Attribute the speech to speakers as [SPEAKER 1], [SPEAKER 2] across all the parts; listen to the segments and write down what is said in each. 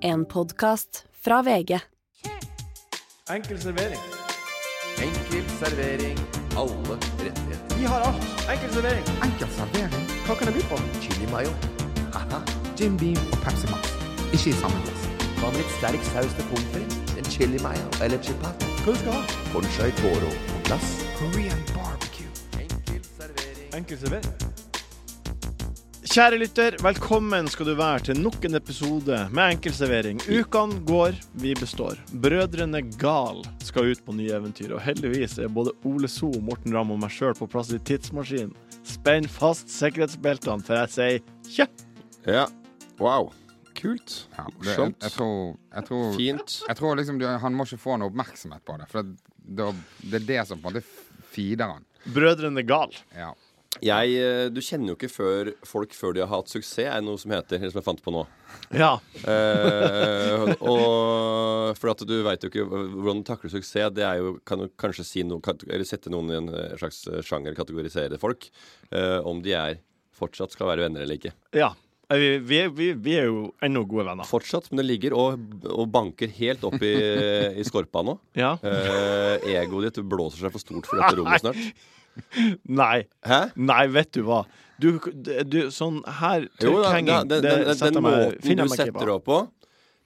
[SPEAKER 1] En podkast fra VG.
[SPEAKER 2] Enkel servering.
[SPEAKER 3] Enkel servering. Alle rettigheter.
[SPEAKER 2] Vi har alt. Enkel servering.
[SPEAKER 4] Enkel servering,
[SPEAKER 2] Hva kan jeg by på?
[SPEAKER 3] Chili mayo. Haha.
[SPEAKER 4] Jim Beam og Pepsi Max. Ikke i samme glass.
[SPEAKER 3] Hva med litt sterk saus til pommes frites? En chili mayo eller chipat?
[SPEAKER 2] Hva du skal ha?
[SPEAKER 3] Conchai toro på glass.
[SPEAKER 4] Korean barbecue.
[SPEAKER 3] Enkel servering.
[SPEAKER 2] Enkel servering. Kjære lytter, velkommen skal du være til nok en episode med enkeltservering. Ukene går, vi består. Brødrene Gal skal ut på nye eventyr, og heldigvis er både Ole So, Morten Ramm og meg sjøl på plass i tidsmaskinen. Spenn fast sikkerhetsbeltene, for jeg sier tja!
[SPEAKER 5] Ja. Wow. Kult.
[SPEAKER 4] Ja, det, jeg,
[SPEAKER 5] Morsomt.
[SPEAKER 4] jeg tror, jeg tror,
[SPEAKER 5] Fint.
[SPEAKER 4] jeg tror liksom du, han må ikke få noe oppmerksomhet på det. For det, da- det er det som på en måte f- feeder han.
[SPEAKER 2] Brødrene Gal.
[SPEAKER 4] Ja.
[SPEAKER 5] Jeg,
[SPEAKER 3] Jeg, eh, du kjenner jo ikke før folk før de har hatt suksess, er noe som heter, eller som jeg fant på nå.
[SPEAKER 2] Ja.
[SPEAKER 3] Eh, og for at du veit jo ikke hvordan du takler suksess. Det er jo, kan jo kanskje si noe, kan- eller sette noen i en eh, slags sjanger, kategorisere folk. eh, om de er fortsatt skal være venner eller ikke.
[SPEAKER 2] ja. Vi, vi, vi, vi er jo ennå gode venner.
[SPEAKER 3] Fortsatt, men det ligger og, og banker helt opp i, i skorpa nå.
[SPEAKER 2] Ja.
[SPEAKER 3] Eh, egoet ditt blåser seg for stort for dette rommet snart.
[SPEAKER 2] Nei.
[SPEAKER 3] Hæ?
[SPEAKER 2] Nei, vet du hva. Du, du sånn her
[SPEAKER 3] Jo, da,
[SPEAKER 2] trykkenging,
[SPEAKER 3] da, den,
[SPEAKER 2] det
[SPEAKER 3] den, den,
[SPEAKER 2] setter
[SPEAKER 3] den
[SPEAKER 2] meg-
[SPEAKER 3] måten
[SPEAKER 2] finner
[SPEAKER 3] du
[SPEAKER 2] jeg meg ikke
[SPEAKER 3] setter
[SPEAKER 2] på.
[SPEAKER 3] opp på,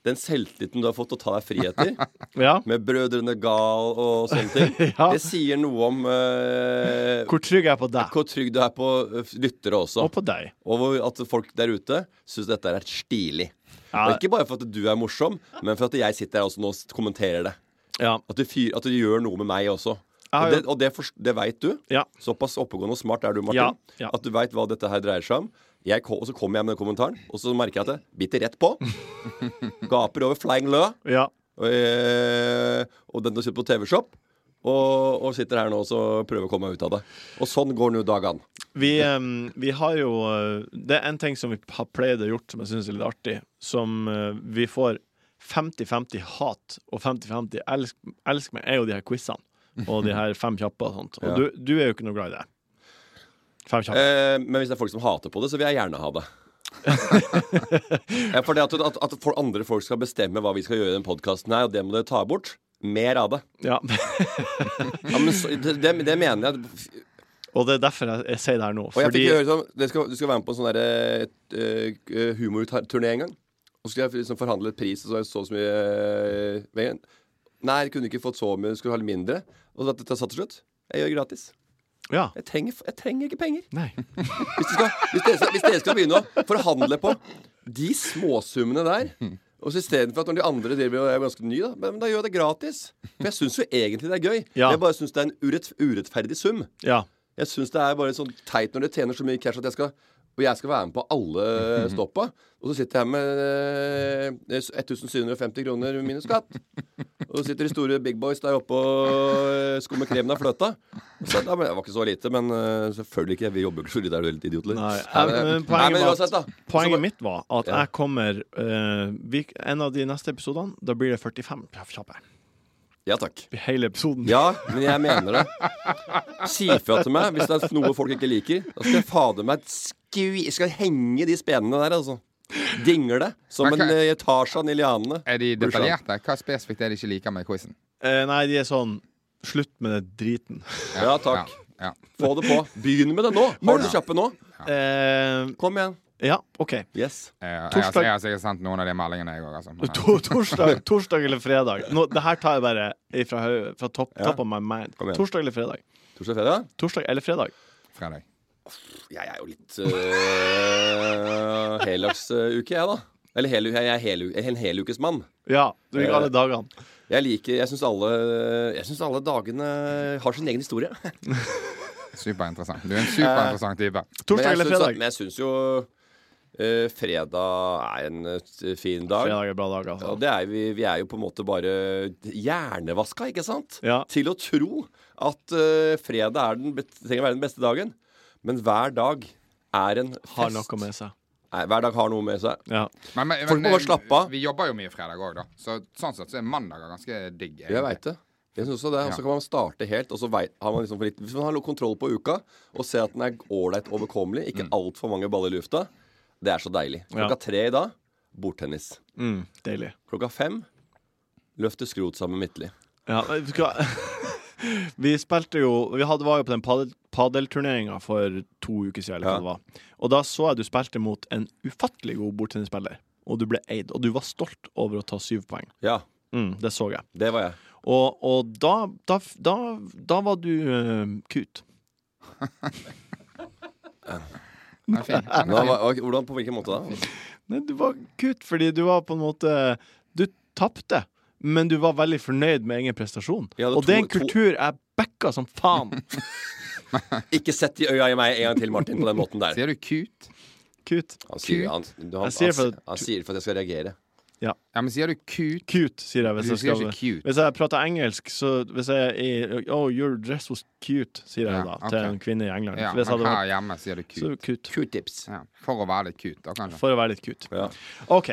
[SPEAKER 3] den selvtilliten du har fått å ta deg friheter,
[SPEAKER 2] Ja.
[SPEAKER 3] med Brødrene Gal og sånne ting,
[SPEAKER 2] Ja.
[SPEAKER 3] det sier noe om eh,
[SPEAKER 2] Hvor trygg er jeg på deg?
[SPEAKER 3] hvor trygg du er på eh, lyttere også.
[SPEAKER 2] Og på deg.
[SPEAKER 3] Og hvor, at folk der ute syns dette er stilig.
[SPEAKER 2] Ja.
[SPEAKER 3] Og ikke bare for at du er morsom, men for at jeg sitter her også nå og kommenterer det.
[SPEAKER 2] Ja.
[SPEAKER 3] At du, fyr, at du gjør noe med meg også.
[SPEAKER 2] Ja,
[SPEAKER 3] og det,
[SPEAKER 2] jo.
[SPEAKER 3] og det, forst- det veit du.
[SPEAKER 2] Ja.
[SPEAKER 3] Såpass oppegående og smart er du, Martin,
[SPEAKER 2] Ja, ja.
[SPEAKER 3] at du veit hva dette her dreier seg om. Jeg, ko- og så kommer jeg med den kommentaren, og så merker jeg at jeg biter rett på. Gaper over flying lø.
[SPEAKER 2] ja.
[SPEAKER 3] Og, eh, og den du sitter på TV-shop. Og, og sitter her nå og så prøver å komme meg ut av det. Og sånn går nå dagene.
[SPEAKER 2] Vi, em, vi har jo eh, Det er en ting som vi har pleid å gjort som jeg syns er litt artig, som eh, vi får 50-50 hat og 50-50 elsk, elsk meg, er jo de her quizene. Og de her fem kjappe og sånt. Og
[SPEAKER 3] Ja.
[SPEAKER 2] du, du er jo ikke noe glad i det. Fem kjappe.
[SPEAKER 3] Eh, men hvis det er folk som hater på det, så vil jeg gjerne ha det. ja, for det at, at, at for andre folk skal bestemme hva vi skal gjøre i den podkasten her, og det må dere ta bort. Mer av det.
[SPEAKER 2] Ja.
[SPEAKER 3] Ja, men så, det, det, det mener jeg. at-
[SPEAKER 2] Og det er derfor jeg, jeg sier det her nå.
[SPEAKER 3] Og jeg
[SPEAKER 2] fordi-
[SPEAKER 3] fikk høre sånn det skal, Du skal være med på en sånn der, eh, eh, humorturné en gang. Og så skulle jeg liksom forhandle et pris, og så så, så mye eh, ved- Nei, du kunne ikke fått så mye, du skulle ha litt mindre. Og så at dette satt til slutt. Jeg gjør gratis.
[SPEAKER 2] Ja.
[SPEAKER 3] Jeg trenger, jeg trenger ikke penger.
[SPEAKER 2] Nei.
[SPEAKER 3] Hvis, du skal, hvis, dere, skal- hvis dere skal begynne å forhandle på de småsummene der og så Istedenfor at når de andre driver og jeg er ganske ny, da, men da gjør jeg det gratis. For jeg syns jo egentlig det er gøy.
[SPEAKER 2] Ja.
[SPEAKER 3] Jeg bare syns det er en urett, urettferdig sum.
[SPEAKER 2] Ja.
[SPEAKER 3] Jeg syns det er bare sånn teit når det tjener så mye cash at jeg skal og jeg skal være med på alle stoppa. Og så sitter jeg med eh, 1750 kroner minus skatt. Og så sitter de store big boys der oppe og eh, skummer kremen av fløta. Og så, ja, men det var ikke så lite, men eh, selvfølgelig ikke. Vi jobber ikke for de der litt idioter.
[SPEAKER 2] Nei,
[SPEAKER 3] Nei,
[SPEAKER 2] eh, men
[SPEAKER 3] men-
[SPEAKER 2] poenget
[SPEAKER 3] Nei, men
[SPEAKER 2] var at-
[SPEAKER 3] uansett, da.
[SPEAKER 2] Poenget mitt var at
[SPEAKER 3] Ja.
[SPEAKER 2] jeg kommer eh, vi, En av de neste episodene, da blir det 45 kjappe.
[SPEAKER 3] Ja takk.
[SPEAKER 2] Hele episoden.
[SPEAKER 3] Ja, men jeg mener det. Si fra til meg hvis det er noe folk ikke liker. Da skal jeg fader meg skvi... Skal jeg henge de spenene der, altså. Dinger det. Som
[SPEAKER 4] Men
[SPEAKER 3] en
[SPEAKER 4] hva-
[SPEAKER 3] eh, Tarzan i lianene.
[SPEAKER 4] Er de
[SPEAKER 3] Burde skjønt.
[SPEAKER 4] detaljerte? Hva spesifikt er det de ikke liker med quizen?
[SPEAKER 2] Eh, nei, de er sånn Slutt med den driten.
[SPEAKER 3] Ja takk.
[SPEAKER 4] Ja, ja.
[SPEAKER 3] Få det på. Begynn med det nå. Har du det kjappe nå?
[SPEAKER 2] Eh,
[SPEAKER 3] Kom igjen.
[SPEAKER 2] ja, OK.
[SPEAKER 3] Yes.
[SPEAKER 4] Eh, Jeg, jeg,
[SPEAKER 2] Torsdag-
[SPEAKER 4] jeg har sikkert sendt noen av de meldingene, jeg òg. Altså. Men,
[SPEAKER 2] To, torsdag, torsdag eller fredag. Nå, det her tar jeg bare ifra, høy- fra topp,
[SPEAKER 3] Ja.
[SPEAKER 2] top of my mind.
[SPEAKER 3] Kom igjen.
[SPEAKER 2] Torsdag eller fredag?
[SPEAKER 3] Torsdag fredag?
[SPEAKER 2] Torsdag eller fredag?
[SPEAKER 4] fredag.
[SPEAKER 3] Jeg er jo litt uh, helagsuke, jeg, da. Eller hel, jeg er hel, en helukesmann.
[SPEAKER 2] Ja. Du
[SPEAKER 3] Eh,
[SPEAKER 2] liker alle dagene.
[SPEAKER 3] Jeg liker Jeg syns alle, jeg synes alle dagene har sin egen historie.
[SPEAKER 4] Superinteressant. Du er en superinteressant
[SPEAKER 3] Eh,
[SPEAKER 4] type.
[SPEAKER 2] Torsdag
[SPEAKER 3] men jeg
[SPEAKER 2] eller
[SPEAKER 3] syns at-
[SPEAKER 2] fredag?
[SPEAKER 3] Men jeg syns jo eh, fredag er en eh, fin dag.
[SPEAKER 2] Fredag er bra dag, altså.
[SPEAKER 3] Og det er vi, vi er jo på en måte bare hjernevaska, ikke sant?
[SPEAKER 2] Ja.
[SPEAKER 3] Til å tro at eh, fredag er den, bet- trenger å være den beste dagen. Men hver dag er en fest.
[SPEAKER 2] Har noe med seg.
[SPEAKER 3] Nei, hver dag har noe med seg.
[SPEAKER 2] Ja.
[SPEAKER 4] Men, men,
[SPEAKER 3] Folk må
[SPEAKER 4] men,
[SPEAKER 3] bare slappe av.
[SPEAKER 4] Vi jobber jo mye fredag òg, da. Så sånn sett så er mandager ganske digg. egentlig.
[SPEAKER 3] Jeg veit det. Jeg synes også det, Og så
[SPEAKER 4] Ja.
[SPEAKER 3] kan man starte helt. Og så vet, har man liksom for litt, Hvis man har litt kontroll på uka og ser at den er ålreit overkommelig, ikke alt altfor mange baller i lufta, det er så deilig.
[SPEAKER 2] Mm. Ja.
[SPEAKER 3] Klokka tre i dag bordtennis.
[SPEAKER 2] Mm, deilig.
[SPEAKER 3] Klokka fem løfte skrot sammen med Midtly.
[SPEAKER 2] Ja, vi skal... Vi spilte jo Vi hadde, var jo på den padel- padelturneringa for to uker siden. Eller hva
[SPEAKER 3] Ja.
[SPEAKER 2] det var. Og da så jeg du spilte mot en ufattelig god bordtennisspiller. Og du ble eid. Og du var stolt over å ta syv poeng.
[SPEAKER 3] Ja,
[SPEAKER 2] Mm, det så jeg.
[SPEAKER 3] det var jeg.
[SPEAKER 2] Og, og da, da, da, da var du uh, cute.
[SPEAKER 4] Den er fin. Den
[SPEAKER 3] Nå,
[SPEAKER 4] er fin.
[SPEAKER 3] hva- hvordan, på hvilken måte da?
[SPEAKER 2] Nei, du var cute fordi du var på en måte Du tapte. Men du var veldig fornøyd med egen prestasjon.
[SPEAKER 3] Jeg hadde
[SPEAKER 2] og det er en
[SPEAKER 3] to- to-
[SPEAKER 2] kultur jeg backa som faen.
[SPEAKER 3] Ikke sett i øya i meg en gang til, Martin, på den måten der.
[SPEAKER 4] Sier du cute?
[SPEAKER 2] Cute.
[SPEAKER 3] Han sier, han, han, han,
[SPEAKER 2] Jeg sier for-
[SPEAKER 3] han sier for at jeg skal reagere.
[SPEAKER 4] Ja, men sier du cute?
[SPEAKER 2] Cute, sier jeg. Hvis
[SPEAKER 4] Du
[SPEAKER 2] jeg
[SPEAKER 4] sier
[SPEAKER 2] skal
[SPEAKER 4] ikke cute.
[SPEAKER 2] Hvis jeg prater engelsk, så hvis jeg er Oh, your dress was cute, sier jeg
[SPEAKER 4] Ja,
[SPEAKER 2] da
[SPEAKER 4] ok.
[SPEAKER 2] til en kvinne i England.
[SPEAKER 4] Ja,
[SPEAKER 2] hvis jeg
[SPEAKER 4] men
[SPEAKER 2] hadde
[SPEAKER 4] her
[SPEAKER 2] vært
[SPEAKER 4] hjemme sier du
[SPEAKER 2] så
[SPEAKER 4] cute.
[SPEAKER 2] cute.
[SPEAKER 3] Q-tips.
[SPEAKER 4] Ja, for å være litt cute, da, kanskje.
[SPEAKER 2] For å være litt cute.
[SPEAKER 3] Ja.
[SPEAKER 2] OK.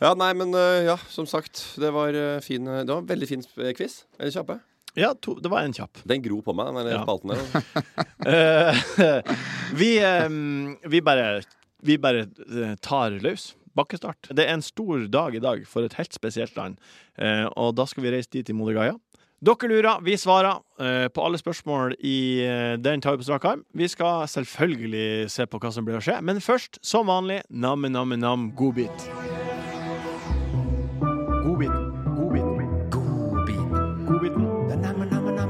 [SPEAKER 3] ja, nei, men øh, ja, som sagt. Det var, øh, fin, øh, det var en veldig fin sp- eh, quiz. Eller kjappe.
[SPEAKER 2] Ja, to, det var en kjapp.
[SPEAKER 3] Den gror på meg, den der
[SPEAKER 2] Ja.
[SPEAKER 3] spalten der. altså.
[SPEAKER 2] Eh, vi, eh, vi bare Vi bare eh, tar løs. Bakkestart. Det er en stor dag i dag for et helt spesielt land, eh, og da skal vi reise dit i Modigaya. Dere lurer, vi svarer eh, på alle spørsmål i eh, Den tar vi på strak arm. Vi skal selvfølgelig se på hva som blir å skje, men først, som vanlig, nam-nam-nam, godbit. Godbit. Godbit. Godbiten.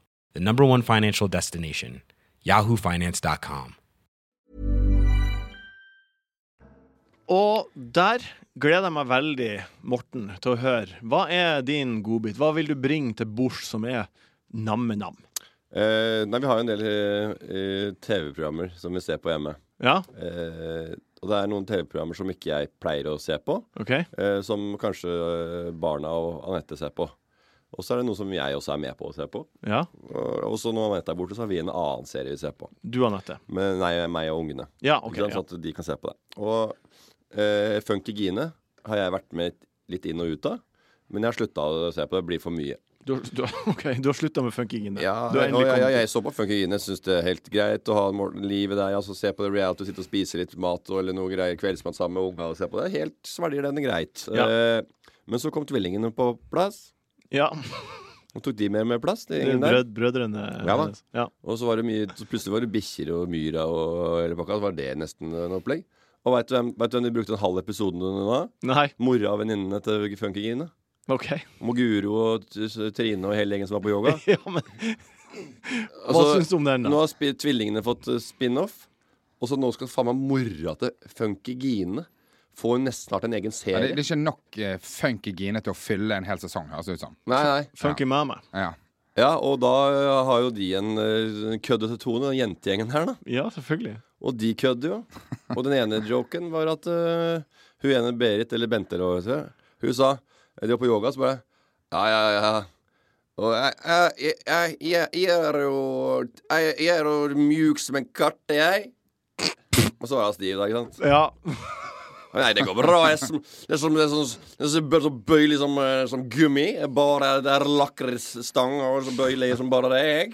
[SPEAKER 6] the number one financial destination, yahoofinance.com.
[SPEAKER 2] Og der gleder jeg meg veldig, Morten, til å høre. Hva er din godbit? Hva vil du bringe til bords som er namme-nam?
[SPEAKER 3] Eh, nei, vi har jo en del eh, eh, TV-programmer som vi ser på hjemme.
[SPEAKER 2] Ja,
[SPEAKER 3] Eh, og det er noen TV-programmer som ikke jeg pleier å se på.
[SPEAKER 2] OK?
[SPEAKER 3] eh, som kanskje eh, barna og Anette ser på. Og så er det noe som jeg også er med på å se på.
[SPEAKER 2] Ja.
[SPEAKER 3] Og og så når Anette er borte, så har vi en annen serie vi ser på.
[SPEAKER 2] Du, Anette.
[SPEAKER 3] Men nei, meg og ungene.
[SPEAKER 2] Ja, OK.
[SPEAKER 3] Ikke sant?
[SPEAKER 2] Ja.
[SPEAKER 3] Sånn at de kan se på det. Og eh, Funky Gine har jeg vært med litt inn og ut av. Men jeg har slutta å se på det. Det blir for mye.
[SPEAKER 2] Du, har- du, har- ok, du har slutta med funkingen? der.
[SPEAKER 3] Ja,
[SPEAKER 2] du har
[SPEAKER 3] og
[SPEAKER 2] endelig
[SPEAKER 3] jeg, jeg,
[SPEAKER 2] kommet
[SPEAKER 3] jeg så på Funky Gine. Syns det er helt greit å ha mor- livet der. Altså, se på det reality, sitte og spise litt mat og, eller noe greier kveldsmat sammen med unga og se på det. Helt svelger den greit.
[SPEAKER 2] Ja.
[SPEAKER 3] Eh, men så kom tvillingene på plass.
[SPEAKER 2] Ja,
[SPEAKER 3] Og tok de mer med plass? Det er ingen der.
[SPEAKER 2] brød, Brødrene
[SPEAKER 3] Ja da.
[SPEAKER 2] hennes. Ja.
[SPEAKER 3] Og så var det mye så Plutselig var det bikkjer og myra og hele pakka. Så var det nesten en opplegg. Og veit du, hvem- vet du hvem de brukte en halv episode nå?
[SPEAKER 2] Nei,
[SPEAKER 3] Mora og venninnene til Funkygine.
[SPEAKER 2] OK.
[SPEAKER 3] Moguro og t- s- Trine og hele gjengen som var på yoga.
[SPEAKER 2] Ja, men hva
[SPEAKER 3] Altså,
[SPEAKER 2] syns du om den,
[SPEAKER 3] Nå
[SPEAKER 2] da?
[SPEAKER 3] har spi tvillingene fått eh, spin-off, og så nå skal faen meg mora til Funkygine få nesten snart en egen
[SPEAKER 4] Ja, det,
[SPEAKER 3] serie.
[SPEAKER 4] det er ikke nok eh, funky gine til å fylle en hel sesong, høres det ut som.
[SPEAKER 3] Nei, nei.
[SPEAKER 2] Funky mama.
[SPEAKER 4] Ja.
[SPEAKER 3] Ja, og da eh, har jo de en eh, køddete tone, den jentegjengen her, da.
[SPEAKER 2] Ja, selvfølgelig.
[SPEAKER 3] Og de kødde jo. Og den ene joken var at øh, hun ene Berit, eller Bente, eller hva hun heter, hun sa De var på yoga, så bare Ja, ja, ja. Og jeg, jeg, jeg, jeg, jeg er jo Jeg, jeg er jo mjuk som en katt, jeg. Og så var han stiv, da, ikke sant.
[SPEAKER 2] Ja.
[SPEAKER 3] Nei, det går bra. Jeg som, det er som, det er som, det er som, det er som bøylig som, eh, som gummi. Jeg Bare Det er lakrisstang og så bøylig som bare det, jeg.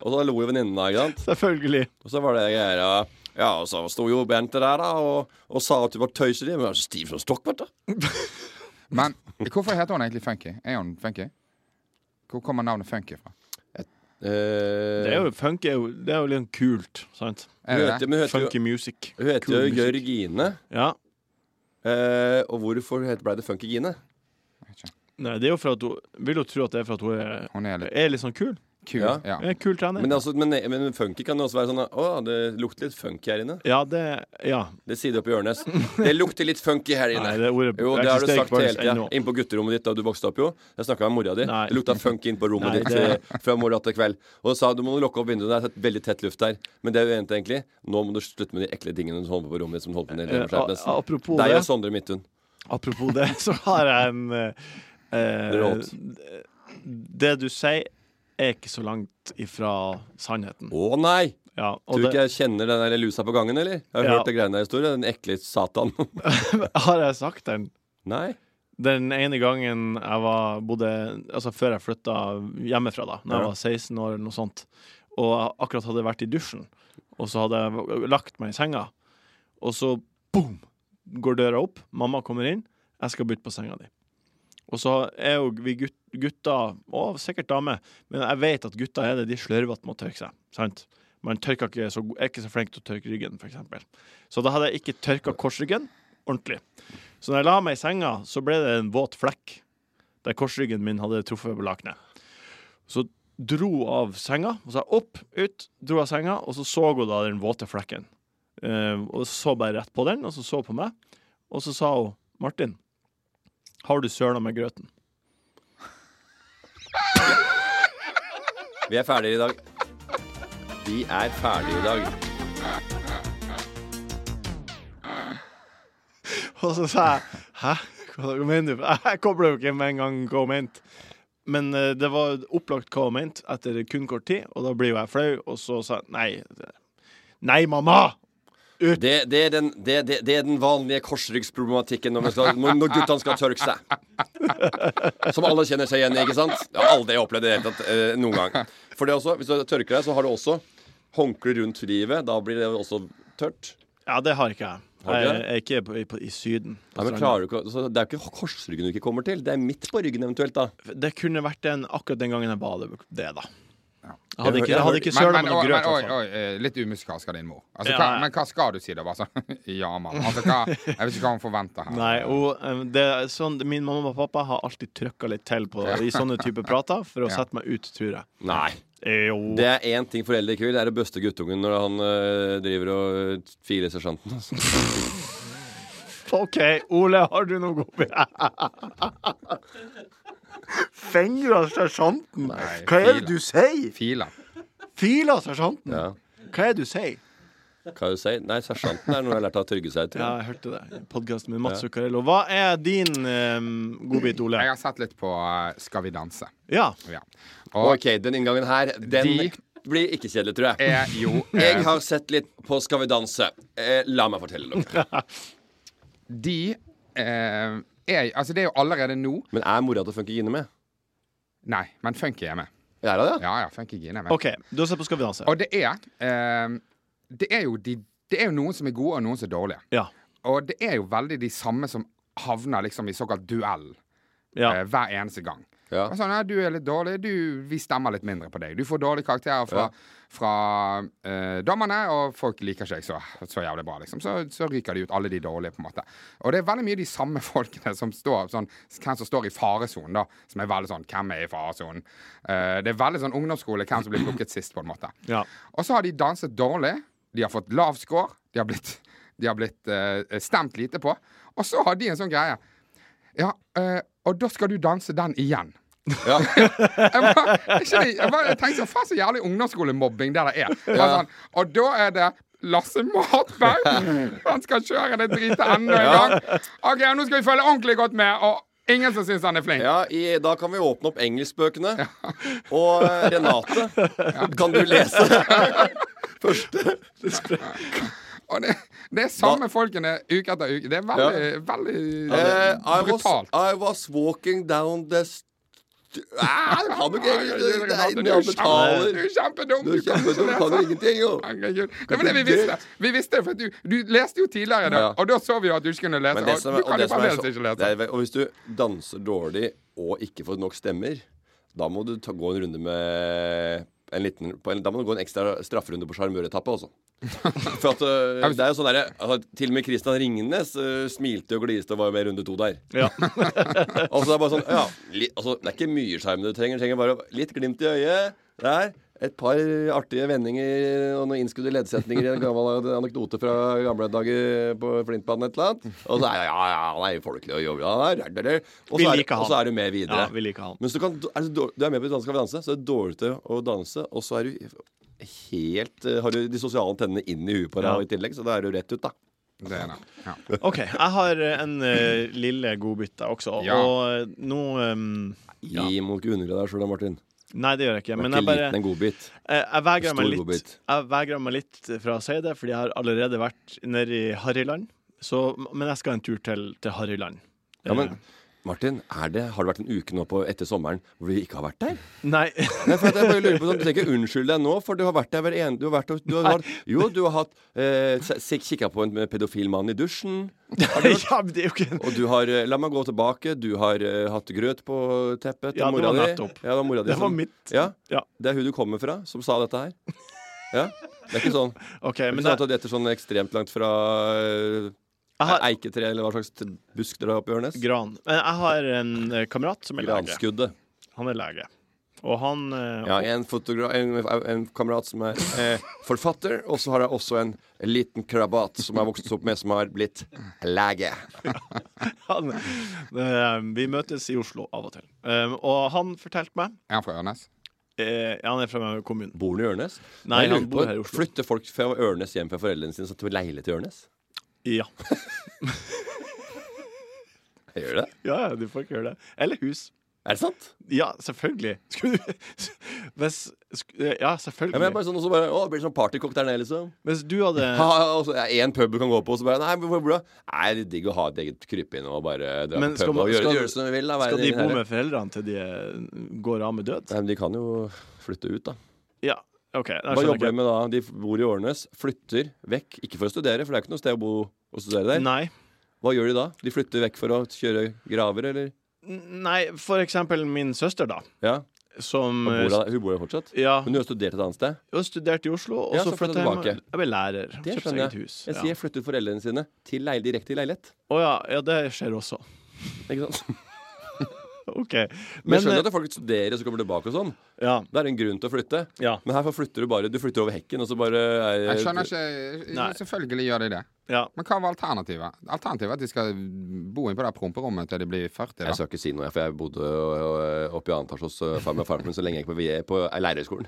[SPEAKER 3] Og så lo jo venninnene, ikke sant.
[SPEAKER 2] Selvfølgelig.
[SPEAKER 3] Og så var det greier ja. Ja, og så sto jo Bente der da og, og sa at du var tøysete. Men hun var så stiv som stokk, vet du.
[SPEAKER 4] Men hvorfor heter hun egentlig funky? Er hun funky? Hvor kommer navnet funky fra?
[SPEAKER 3] Eh,
[SPEAKER 2] Det er jo, funk er jo, det er jo litt kult, sant?
[SPEAKER 4] Er
[SPEAKER 3] hun
[SPEAKER 4] det
[SPEAKER 3] heter,
[SPEAKER 4] det?
[SPEAKER 3] men hun heter jo,
[SPEAKER 2] Funky music.
[SPEAKER 3] hun heter
[SPEAKER 2] Cool
[SPEAKER 3] jo
[SPEAKER 2] music.
[SPEAKER 3] Jørgine.
[SPEAKER 2] Ja.
[SPEAKER 3] Eh, og hvorfor het- ble det Funkygine?
[SPEAKER 2] Nei, det er jo for at hun Vil jo tro at det er for at hun er,
[SPEAKER 4] Hun er litt
[SPEAKER 2] er litt sånn kul.
[SPEAKER 4] kul.
[SPEAKER 3] Ja.
[SPEAKER 4] Ja.
[SPEAKER 2] Er kul trener.
[SPEAKER 3] Men, altså, men, men funky kan jo også være sånn Å, det lukter litt funky her inne.
[SPEAKER 2] ja, det Ja.
[SPEAKER 3] Det sier du oppe i Ørnes. Det lukter litt funky her inne.
[SPEAKER 2] Nei, det ordet
[SPEAKER 3] Jo, det har du
[SPEAKER 2] eksisterer
[SPEAKER 3] sagt
[SPEAKER 2] ikke
[SPEAKER 3] hele
[SPEAKER 2] faktisk
[SPEAKER 3] tida.
[SPEAKER 2] ennå.
[SPEAKER 3] Inn på gutterommet ditt da du vokste opp, jo. Jeg snakka med mora di.
[SPEAKER 2] Nei.
[SPEAKER 3] Det lukta funk inn på rommet
[SPEAKER 2] Nei,
[SPEAKER 3] ditt
[SPEAKER 2] det-
[SPEAKER 3] eh, fra morgen til kveld. Og så sa du må du lukke opp vinduene, det er tett- veldig tett luft her. Men det er jo egentlig, egentlig. Nå må du slutte med de ekle tingene du holder på på rommet ditt som du holder på med i
[SPEAKER 2] Eh,
[SPEAKER 3] Leverskjernes.
[SPEAKER 2] a- apropos
[SPEAKER 3] Deg
[SPEAKER 2] det.
[SPEAKER 3] og Sondre Midthun.
[SPEAKER 2] Apropos det, så har jeg en eh, eh,
[SPEAKER 3] Det låt.
[SPEAKER 2] Det du sier, er ikke så langt ifra sannheten.
[SPEAKER 3] Å nei!
[SPEAKER 2] Ja, og
[SPEAKER 3] Tror du
[SPEAKER 2] det
[SPEAKER 3] ikke jeg kjenner den der lusa på gangen, eller? Jeg har
[SPEAKER 2] Ja.
[SPEAKER 3] hørt det greiene der i historien. Den ekle satan.
[SPEAKER 2] har jeg sagt den.
[SPEAKER 3] nei?
[SPEAKER 2] Den ene gangen jeg var, bodde Altså før jeg flytta hjemmefra, da Når jeg
[SPEAKER 3] Ja.
[SPEAKER 2] var 16 år eller noe sånt. Og jeg akkurat hadde vært i dusjen, og så hadde jeg lagt meg i senga. Og så boom! Går døra opp, mamma kommer inn, jeg skal bytte på senga di. Og så er jo vi gut gutta, og sikkert damer, men jeg vet at gutta er det, de slørvete med å tørke seg. Sant? Man tørker ikke så, er ikke så flink til å tørke ryggen, f.eks. Så da hadde jeg ikke tørka korsryggen ordentlig. Så når jeg la meg i senga, så ble det en våt flekk der korsryggen min hadde truffet på lakenet. Så dro av senga, og så opp, ut, dro av senga, og så så hun da den våte flekken. Eh, og så bare rett på den, og så så på meg, og så sa hun Martin, har du søla med grøten?
[SPEAKER 3] Vi er ferdige i dag.
[SPEAKER 5] Vi er ferdige i dag.
[SPEAKER 2] Og så sa jeg Hæ? Hva mener du? Jeg kobla jo ikke med en gang hva hun mente. Men eh, det var opplagt hva hun mente etter kun kort tid, og da blir jo jeg flau, og så sa jeg nei. det- Nei, mamma!
[SPEAKER 3] Det, det, er den, det, det, det er den vanlige korsryggsproblematikken når, man skal, når når guttene skal tørke seg. Som alle kjenner seg igjen i, ikke sant? Jeg har aldri opplevd det i det hele tatt eh, noen gang. For det også, Hvis du tørker deg, så har du også håndkle rundt livet. Da blir det også tørt.
[SPEAKER 2] Ja, det har ikke jeg.
[SPEAKER 3] Har du
[SPEAKER 2] jeg
[SPEAKER 3] ikke
[SPEAKER 2] jeg er ikke på, i, på, i Syden. Altså, på
[SPEAKER 3] Nei, men
[SPEAKER 2] stranda.
[SPEAKER 3] klarer du ikke, å- så Det er jo ikke korsryggen du ikke kommer til. Det er midt på ryggen eventuelt, da.
[SPEAKER 2] Det kunne vært den akkurat den gangen jeg ba det, det da.
[SPEAKER 4] Ja.
[SPEAKER 2] Jeg hadde ikke, jeg hadde ikke
[SPEAKER 4] Men,
[SPEAKER 2] søla
[SPEAKER 4] men,
[SPEAKER 2] med
[SPEAKER 4] oi,
[SPEAKER 2] noe
[SPEAKER 4] men,
[SPEAKER 2] grøt. altså. i
[SPEAKER 4] oi,
[SPEAKER 2] hvert fall.
[SPEAKER 4] oi, eh, litt umusikalsk av din mor. Altså,
[SPEAKER 2] Ja,
[SPEAKER 4] hva,
[SPEAKER 2] ja.
[SPEAKER 4] men hva skal du si, da? Altså, ja, mamma. Altså, hva, jeg vet ikke hva hun forventer her.
[SPEAKER 2] Nei, og em, det er sånn, Min mamma og pappa har alltid trykka litt til på, i sånne type prater for å
[SPEAKER 4] Ja.
[SPEAKER 2] sette meg ut, tror jeg.
[SPEAKER 3] Nei.
[SPEAKER 2] Eh, Jo.
[SPEAKER 3] Det er én ting foreldre ikke vil, det er å bøste guttungen når han eh, driver og filer sersjanten. altså.
[SPEAKER 2] OK, Ole, har du noe oppi Fengra sersjanten?
[SPEAKER 4] Nei,
[SPEAKER 2] Hva er det
[SPEAKER 4] filer.
[SPEAKER 2] du sier?
[SPEAKER 4] Filer.
[SPEAKER 2] Fila sersjanten?
[SPEAKER 3] Ja.
[SPEAKER 2] Hva er det du sier?
[SPEAKER 3] Hva du sier? Nei, sersjanten er noe jeg har lært av Trygve seg til.
[SPEAKER 2] Ja, jeg hørte det i podkasten med Mats Zuccarello. Hva er din em, godbit, Ole?
[SPEAKER 4] Jeg har sett litt på eh, Skal vi danse.
[SPEAKER 2] Ja.
[SPEAKER 4] Ja. Og
[SPEAKER 3] Ok, den inngangen her, den
[SPEAKER 4] De-
[SPEAKER 3] blir ikke kjedelig, tror jeg.
[SPEAKER 4] er jo
[SPEAKER 3] Jeg
[SPEAKER 4] eh,
[SPEAKER 3] har sett litt på Skal vi danse. Eh, la meg fortelle dere.
[SPEAKER 4] De eh, er Altså, det er jo allerede nå
[SPEAKER 3] Men er mora til Funky Gine med?
[SPEAKER 4] Nei, men Funky er med.
[SPEAKER 3] Er hun det?
[SPEAKER 4] Ja, ja, Funky Gine er med.
[SPEAKER 2] OK, du har sett på Skal vi danse?
[SPEAKER 4] Og det er eh, Det er jo de Det er jo noen som er gode, og noen som er dårlige.
[SPEAKER 2] Ja.
[SPEAKER 4] Og det er jo veldig de samme som havner liksom i såkalt duell
[SPEAKER 2] ja.
[SPEAKER 4] eh, hver eneste gang.
[SPEAKER 3] Ja.
[SPEAKER 4] Og Sånn, ja, du er litt dårlig, du, vi stemmer litt mindre på deg. Du får dårlige karakterer fra, fra eh, dommerne, og folk liker ikke deg så, så jævlig bra, liksom. Så, så ryker de ut, alle de dårlige, på en måte. Og det er veldig mye de samme folkene som står sånn, hvem som står i faresonen, da. Som er veldig sånn Hvem er i faresonen? Eh, det er veldig sånn ungdomsskole, hvem som blir plukket sist, på en måte.
[SPEAKER 2] Ja.
[SPEAKER 4] Og så har de danset dårlig. De har fått lav score. De har blitt, de har blitt eh, stemt lite på. Og så har de en sånn greie. Ja, eh, og da skal du danse den igjen.
[SPEAKER 3] Ja.
[SPEAKER 4] Jeg, bare, ikke, jeg, bare, jeg tenkte så faen så jævlig ungdomsskolemobbing det der er. Det var sånn, og da er det Lasse Matberg! Han skal kjøre det dritet enda en gang. Ok, Nå skal vi følge ordentlig godt med, og ingen som syns han er flink.
[SPEAKER 3] ja i, da kan vi åpne opp engelskbøkene. Og eh, Renate, kan du lese?
[SPEAKER 4] Og det, det er samme folkene uke etter uke. Det er veldig, veldig
[SPEAKER 3] Eh, I, was,
[SPEAKER 4] brutalt.
[SPEAKER 3] I was walking down the st... Ah, du kan jo ikke engelsk! Det er
[SPEAKER 4] Du
[SPEAKER 3] neandertaler.
[SPEAKER 4] er kjempedum!
[SPEAKER 3] Du er kjempedum, kan jo ingenting, jo.
[SPEAKER 4] Herregud. Det var det vi visste. Vi visste det, for at du, du leste jo tidligere, da,
[SPEAKER 3] Ja.
[SPEAKER 4] og da så vi jo at du ikke kunne lese. Og,
[SPEAKER 3] Men det som er,
[SPEAKER 4] du
[SPEAKER 3] og,
[SPEAKER 4] kan
[SPEAKER 3] det
[SPEAKER 4] jo
[SPEAKER 3] som
[SPEAKER 4] bare
[SPEAKER 3] er
[SPEAKER 4] lese,
[SPEAKER 3] så,
[SPEAKER 4] ikke lese.
[SPEAKER 3] det er, og hvis du danser dårlig og ikke får nok stemmer, da må du ta, gå en runde med en liten, på en, da må du gå en ekstra strafferunde på sjarmøretappe også. For at, øh, det er jo sånn der, altså, Til og med Christian Ringnes øh, smilte og gliste og var jo med i runde to der.
[SPEAKER 2] Ja.
[SPEAKER 3] Altså, det er bare sånn, ja, li, altså, det er ikke mye sjarm du trenger. Du trenger bare litt glimt i øyet. Der. Et par artige vendinger og noen innskudde leddsetninger i en gammel anekdote fra gamle dager på Flintbanen et eller annet. Og så er ja, ja, han er jo folkelig og jovial. han er- Og
[SPEAKER 2] Vi
[SPEAKER 3] så er-
[SPEAKER 2] liker han.
[SPEAKER 3] og så er du med videre.
[SPEAKER 2] Ja, vi liker han.
[SPEAKER 3] Men så kan, er du, dår- du er med på Dansk Skal vi danse, så er det dårlig til å danse, og så er du helt eh, Har du de sosiale tennene inn i huet på deg
[SPEAKER 2] Ja.
[SPEAKER 3] og i tillegg, så da er du rett ut, da.
[SPEAKER 4] Det er det. Ja.
[SPEAKER 2] OK. Jeg har eh, en eh, lille godbit da også.
[SPEAKER 4] Ja.
[SPEAKER 2] Og eh, nå ehm,
[SPEAKER 3] Ja. I må ikke undergrave deg sjøl, Martin.
[SPEAKER 2] Nei, det gjør jeg ikke.
[SPEAKER 3] Du er
[SPEAKER 2] Men
[SPEAKER 3] ikke
[SPEAKER 2] jeg bare
[SPEAKER 3] liten en godbit.
[SPEAKER 2] Eh, Jeg vegrer meg
[SPEAKER 3] Stor
[SPEAKER 2] litt
[SPEAKER 3] godbit.
[SPEAKER 2] Jeg vegrer meg litt fra å si det, fordi jeg har allerede vært nede i Harryland. Så, men jeg skal en tur til, til Harryland.
[SPEAKER 3] Ja,
[SPEAKER 2] Eh,
[SPEAKER 3] men Martin, er det, har det vært en uke nå på, etter sommeren hvor vi ikke har vært der?
[SPEAKER 2] Nei,
[SPEAKER 3] Nei, for at jeg bare lurer på sånn, Du trenger ikke unnskylde deg nå, for du har vært der hver ene du har vært, og- du har, Jo, du har hatt eh, kikka på en pedofil mann i dusjen.
[SPEAKER 2] ja, men det er jo ikke
[SPEAKER 3] Og du har eh, La meg gå tilbake. Du har eh, hatt grøt på teppet til
[SPEAKER 2] Ja, det
[SPEAKER 3] mora
[SPEAKER 2] var
[SPEAKER 3] di.
[SPEAKER 2] nettopp.
[SPEAKER 3] Ja, det var mora di.
[SPEAKER 2] Det var
[SPEAKER 3] som-
[SPEAKER 2] mitt.
[SPEAKER 3] Liksom, Ja,
[SPEAKER 2] Ja,
[SPEAKER 3] det er hun du kommer fra, som sa dette her. Ja, Det er ikke sånn Det
[SPEAKER 2] OK.
[SPEAKER 3] er
[SPEAKER 2] Men det,
[SPEAKER 3] ikke sånn at det er sånn ekstremt langt fra eh,
[SPEAKER 2] jeg har
[SPEAKER 3] eiketre eller hva slags t- busk dere har oppe i Ørnes.
[SPEAKER 2] gran. Men jeg har en eh, kamerat som er lege.
[SPEAKER 3] Granskuddet.
[SPEAKER 2] Han er lege. Og han eh,
[SPEAKER 3] Ja, en, fotogra- en, en kamerat som er eh, forfatter, og så har jeg også en liten krabat som jeg har vokst opp med, som har blitt lege.
[SPEAKER 2] han, eh, Vi møtes i Oslo av og til. Eh, og han fortalte meg
[SPEAKER 4] Er han fra Ørnes?
[SPEAKER 2] eh, ja, Han er fra kommunen.
[SPEAKER 3] Bor han i Ørnes?
[SPEAKER 2] Nei,
[SPEAKER 3] Jeg lurer
[SPEAKER 2] han bor
[SPEAKER 3] på,
[SPEAKER 2] her i Oslo.
[SPEAKER 3] Flytter folk fra Ørnes hjem fra foreldrene sine, så de leilighet i Ørnes?
[SPEAKER 2] Ja.
[SPEAKER 3] Jeg gjør det.
[SPEAKER 2] ja, ja, du får ikke gjøre det. Eller hus.
[SPEAKER 3] Er det sant?
[SPEAKER 2] Ja, selvfølgelig. Skulle du Hvis sk- eh, Ja,
[SPEAKER 3] Ja, men jeg er
[SPEAKER 2] selvfølgelig.
[SPEAKER 3] bare sånn, og så bare, å, det blir sånn partykokt der nede, liksom.
[SPEAKER 2] Hvis du hadde
[SPEAKER 3] Ha, ha, og så er det en pub du kan gå på, og så bare Nei, men hvor bra? Nei, det er digg å ha et eget krypinn og bare dra
[SPEAKER 2] Men
[SPEAKER 3] på
[SPEAKER 2] skal
[SPEAKER 3] pub
[SPEAKER 2] man-
[SPEAKER 3] og gjøre,
[SPEAKER 2] skal-
[SPEAKER 3] gjøre som du vil. Da, være
[SPEAKER 2] Skal de
[SPEAKER 3] din
[SPEAKER 2] bo
[SPEAKER 3] herre.
[SPEAKER 2] med foreldrene til de eh, går av med død?
[SPEAKER 3] Nei, men de kan jo flytte ut, da.
[SPEAKER 2] Ja, OK. jeg
[SPEAKER 3] Hva
[SPEAKER 2] skjønner
[SPEAKER 3] jobber
[SPEAKER 2] ikke.
[SPEAKER 3] de med da? De bor i Årnes, flytter vekk. Ikke for å studere, for det er ikke noe sted å bo og studere der.
[SPEAKER 2] Nei.
[SPEAKER 3] Hva gjør de da? De flytter vekk for å kjøre graver, eller?
[SPEAKER 2] N- Nei, for eksempel min søster, da,
[SPEAKER 3] Ja.
[SPEAKER 2] som
[SPEAKER 3] Hun bor
[SPEAKER 2] eh,
[SPEAKER 3] der, hun bor der fortsatt?
[SPEAKER 2] ja,
[SPEAKER 3] Men du har studert et annet sted?
[SPEAKER 2] hun studerte i Oslo, og
[SPEAKER 3] Ja,
[SPEAKER 2] så
[SPEAKER 3] så flyttet
[SPEAKER 2] flytta jeg
[SPEAKER 3] tilbake.
[SPEAKER 2] hjem. Jeg ble lærer.
[SPEAKER 3] Det
[SPEAKER 2] kjøpte
[SPEAKER 3] skjønner
[SPEAKER 2] eget
[SPEAKER 3] jeg.
[SPEAKER 2] hus.
[SPEAKER 3] Jeg
[SPEAKER 2] Ja.
[SPEAKER 3] sier flyttet foreldrene sine til leil, direkte i leilighet.
[SPEAKER 2] Å ja, ja, det skjer også.
[SPEAKER 3] Ikke sant?
[SPEAKER 2] OK.
[SPEAKER 3] Men, jeg skjønner at folk studerer og så kommer tilbake og sånn.
[SPEAKER 2] eh, ja,
[SPEAKER 3] Det er en grunn til å flytte.
[SPEAKER 2] ja,
[SPEAKER 3] Men herfor flytter du bare Du flytter over hekken, og så bare er,
[SPEAKER 4] Jeg skjønner ikke
[SPEAKER 2] Nei.
[SPEAKER 4] Selvfølgelig gjør de det.
[SPEAKER 2] ja.
[SPEAKER 4] Men hva var alternativet? Alternativet er at de skal bo inn på det promperommet til de blir 40.
[SPEAKER 3] Jeg
[SPEAKER 4] Da.
[SPEAKER 3] skal ikke si noe, for jeg bodde øh, oppe i annen etasje hos øh, far med faren min så lenge jeg gikk på VE på eh, lærerskolen.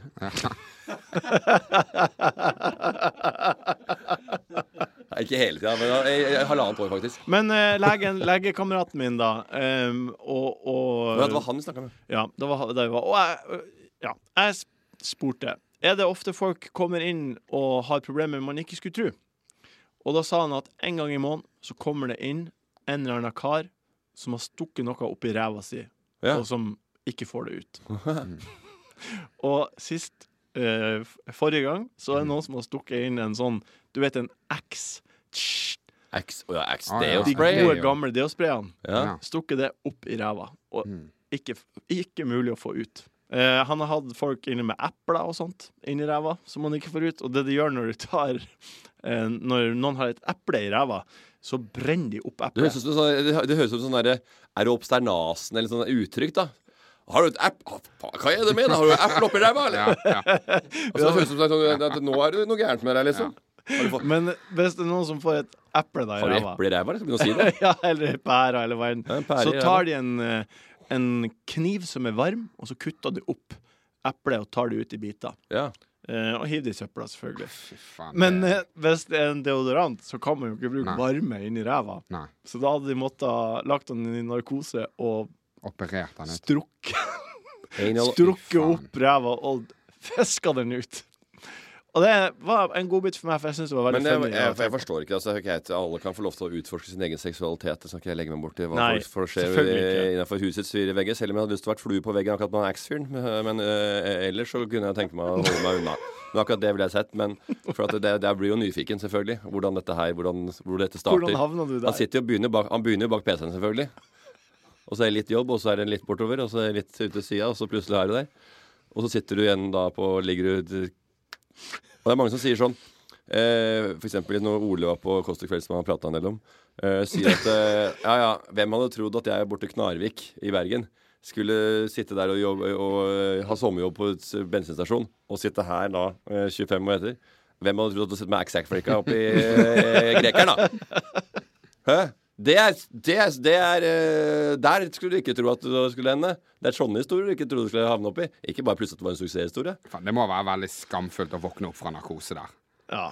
[SPEAKER 3] Nei, ikke hele tida, men eh, eh, halvannet år, faktisk.
[SPEAKER 2] Men eh, legen, legekameraten min, da, eh, og, og
[SPEAKER 3] Men det var han vi snakka med.
[SPEAKER 2] Ja, det var det var. Og jeg, ja, jeg sp- spurte Er det ofte folk kommer inn og har problemer man ikke skulle tro? Og da sa han at en gang i måneden så kommer det inn en eller annen kar som har stukket noe opp i ræva si,
[SPEAKER 3] Ja.
[SPEAKER 2] og som ikke får det ut. og sist eh, f- Forrige gang så er det noen som har stukket inn en sånn Du vet, en X. Tss,
[SPEAKER 3] Axe oh, ja, Axe
[SPEAKER 4] Ah, ja.
[SPEAKER 3] Deo
[SPEAKER 2] De
[SPEAKER 3] Spray.
[SPEAKER 4] Spray,
[SPEAKER 2] gode,
[SPEAKER 4] jo.
[SPEAKER 2] gamle deosprayene
[SPEAKER 3] Ja.
[SPEAKER 4] Ja.
[SPEAKER 2] stukket det opp i ræva. Og
[SPEAKER 4] Mm.
[SPEAKER 2] ikke, ikke mulig å få ut. Eh, han har hatt folk inne med epler og sånt inni ræva som man ikke får ut. Og det de gjør når du tar eh, Når noen har et eple i ræva, så brenner de opp
[SPEAKER 3] Det høres
[SPEAKER 2] eplet.
[SPEAKER 3] ut som sånn, det, det høres ut som sånn derre Er du obsternasen eller sånn uttrykk, da? Har du et app? Å, faen, Hva er det med? da? Har du apple oppi ræva, eller?
[SPEAKER 4] Ja, ja.
[SPEAKER 3] Altså, det høres ut som sånn, at nå er det noe gærent med deg, liksom. Har du fått
[SPEAKER 2] Men hvis det er noen som får et eple da i
[SPEAKER 3] har du
[SPEAKER 2] ræva,
[SPEAKER 3] eple i ræva? liksom? Begynn å si det.
[SPEAKER 2] ja, eller ei pære eller hva enn,
[SPEAKER 3] Ja, en pære
[SPEAKER 2] så
[SPEAKER 3] i ræva.
[SPEAKER 2] tar de en, eh, en kniv som er varm, og så kutter de opp eplet og tar det ut i biter.
[SPEAKER 3] Ja.
[SPEAKER 2] Eh, og hiver det i søpla, selvfølgelig.
[SPEAKER 4] Fy faen.
[SPEAKER 2] Men
[SPEAKER 4] det-
[SPEAKER 2] eh, hvis det er en deodorant, så kan man jo ikke bruke
[SPEAKER 4] Nei.
[SPEAKER 2] varme inni ræva.
[SPEAKER 4] Nei.
[SPEAKER 2] Så da hadde de måttet ha lagt han i narkose og
[SPEAKER 4] Operert han ut.
[SPEAKER 2] strukket,
[SPEAKER 3] Anal-
[SPEAKER 2] strukket
[SPEAKER 4] faen.
[SPEAKER 2] opp ræva og fiska den ut. Og det var en godbit for meg, for jeg syns det var veldig
[SPEAKER 3] Men jeg,
[SPEAKER 2] funny.
[SPEAKER 3] jeg,
[SPEAKER 2] å
[SPEAKER 3] jeg forstår ikke. Altså, greit, alle kan få lov til å utforske sin egen seksualitet. Det skal ikke jeg legge meg borti hva
[SPEAKER 2] Nei,
[SPEAKER 3] folk får se
[SPEAKER 2] selvfølgelig ikke.
[SPEAKER 3] innenfor husets fire vegger. Selv om jeg hadde lyst til å vært flue på veggen akkurat med han Axe-fyren. Men- Men øh, ellers så kunne jeg tenke meg å holde meg unna. Men akkurat det ville jeg sett. Men for at det, det blir jo nyfiken, selvfølgelig. Hvordan dette her hvordan, hvor dette starter.
[SPEAKER 2] Hvordan havna du der?
[SPEAKER 3] Han sitter jo og begynner bak, han begynner jo bak PC-en, selvfølgelig. Og så er det litt jobb, og så er det litt bortover, og så er det litt ute til sida, og så plutselig er du der. Og så sitter du igjen da på Ligger du Og det er mange som sier sånn eh, For eksempel når Ole var på Kåss til kveld, som han prata en del om, eh, sier at eh, Ja, ja, hvem hadde trodd at jeg borte i Knarvik i Bergen skulle sitte der og, jobbe, og eh, ha sommerjobb på et s- bensinstasjon, og sitte her da eh, 25 år etter? Hvem hadde trodd at du sitter med Axe-Axe-flikka oppi eh, Grekeren, da? Hæ? Det er, det er, det er eh, Der skulle du ikke tro at du skulle ende. Det er sånne historier du ikke trodde du skulle havne oppi. Ikke bare plutselig at det var en suksesshistorie.
[SPEAKER 4] Faen, det må være veldig skamfullt å våkne opp fra narkose der.
[SPEAKER 2] Ja.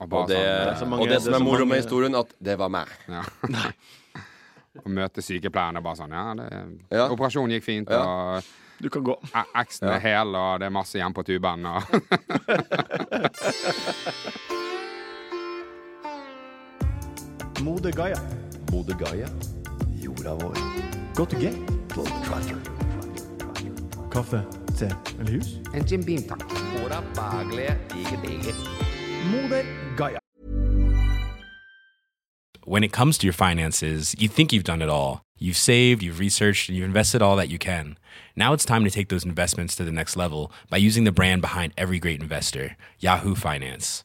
[SPEAKER 4] Og
[SPEAKER 3] Og
[SPEAKER 4] bare
[SPEAKER 3] det,
[SPEAKER 4] sånn,
[SPEAKER 2] så mange-
[SPEAKER 3] og det som
[SPEAKER 2] det er så
[SPEAKER 3] er moro
[SPEAKER 2] mange-
[SPEAKER 3] med historien, at det var meg.
[SPEAKER 4] ja. Å eh, møte sykepleierne og bare sånn Ja, det,
[SPEAKER 3] Ja.
[SPEAKER 4] operasjonen gikk fint,
[SPEAKER 3] Ja.
[SPEAKER 4] og
[SPEAKER 2] Du kan gå.
[SPEAKER 4] a- eksen er e- hel, og det er masse igjen på tuben, og
[SPEAKER 2] Mode Gaia.
[SPEAKER 7] Mode Gaia. Jorda vår.
[SPEAKER 2] Gå til gate.
[SPEAKER 7] Blood Clatter.
[SPEAKER 2] Kaffe, te eller hus.
[SPEAKER 4] En Jim Beam, takk.
[SPEAKER 2] Mode Gaia.
[SPEAKER 6] When it comes to your finances, you think you've done it all. You've saved, you've researched, and you've invested all that you can. Now it's time to take those investments to the next level by using the brand behind every great investor, Yahoo Finance.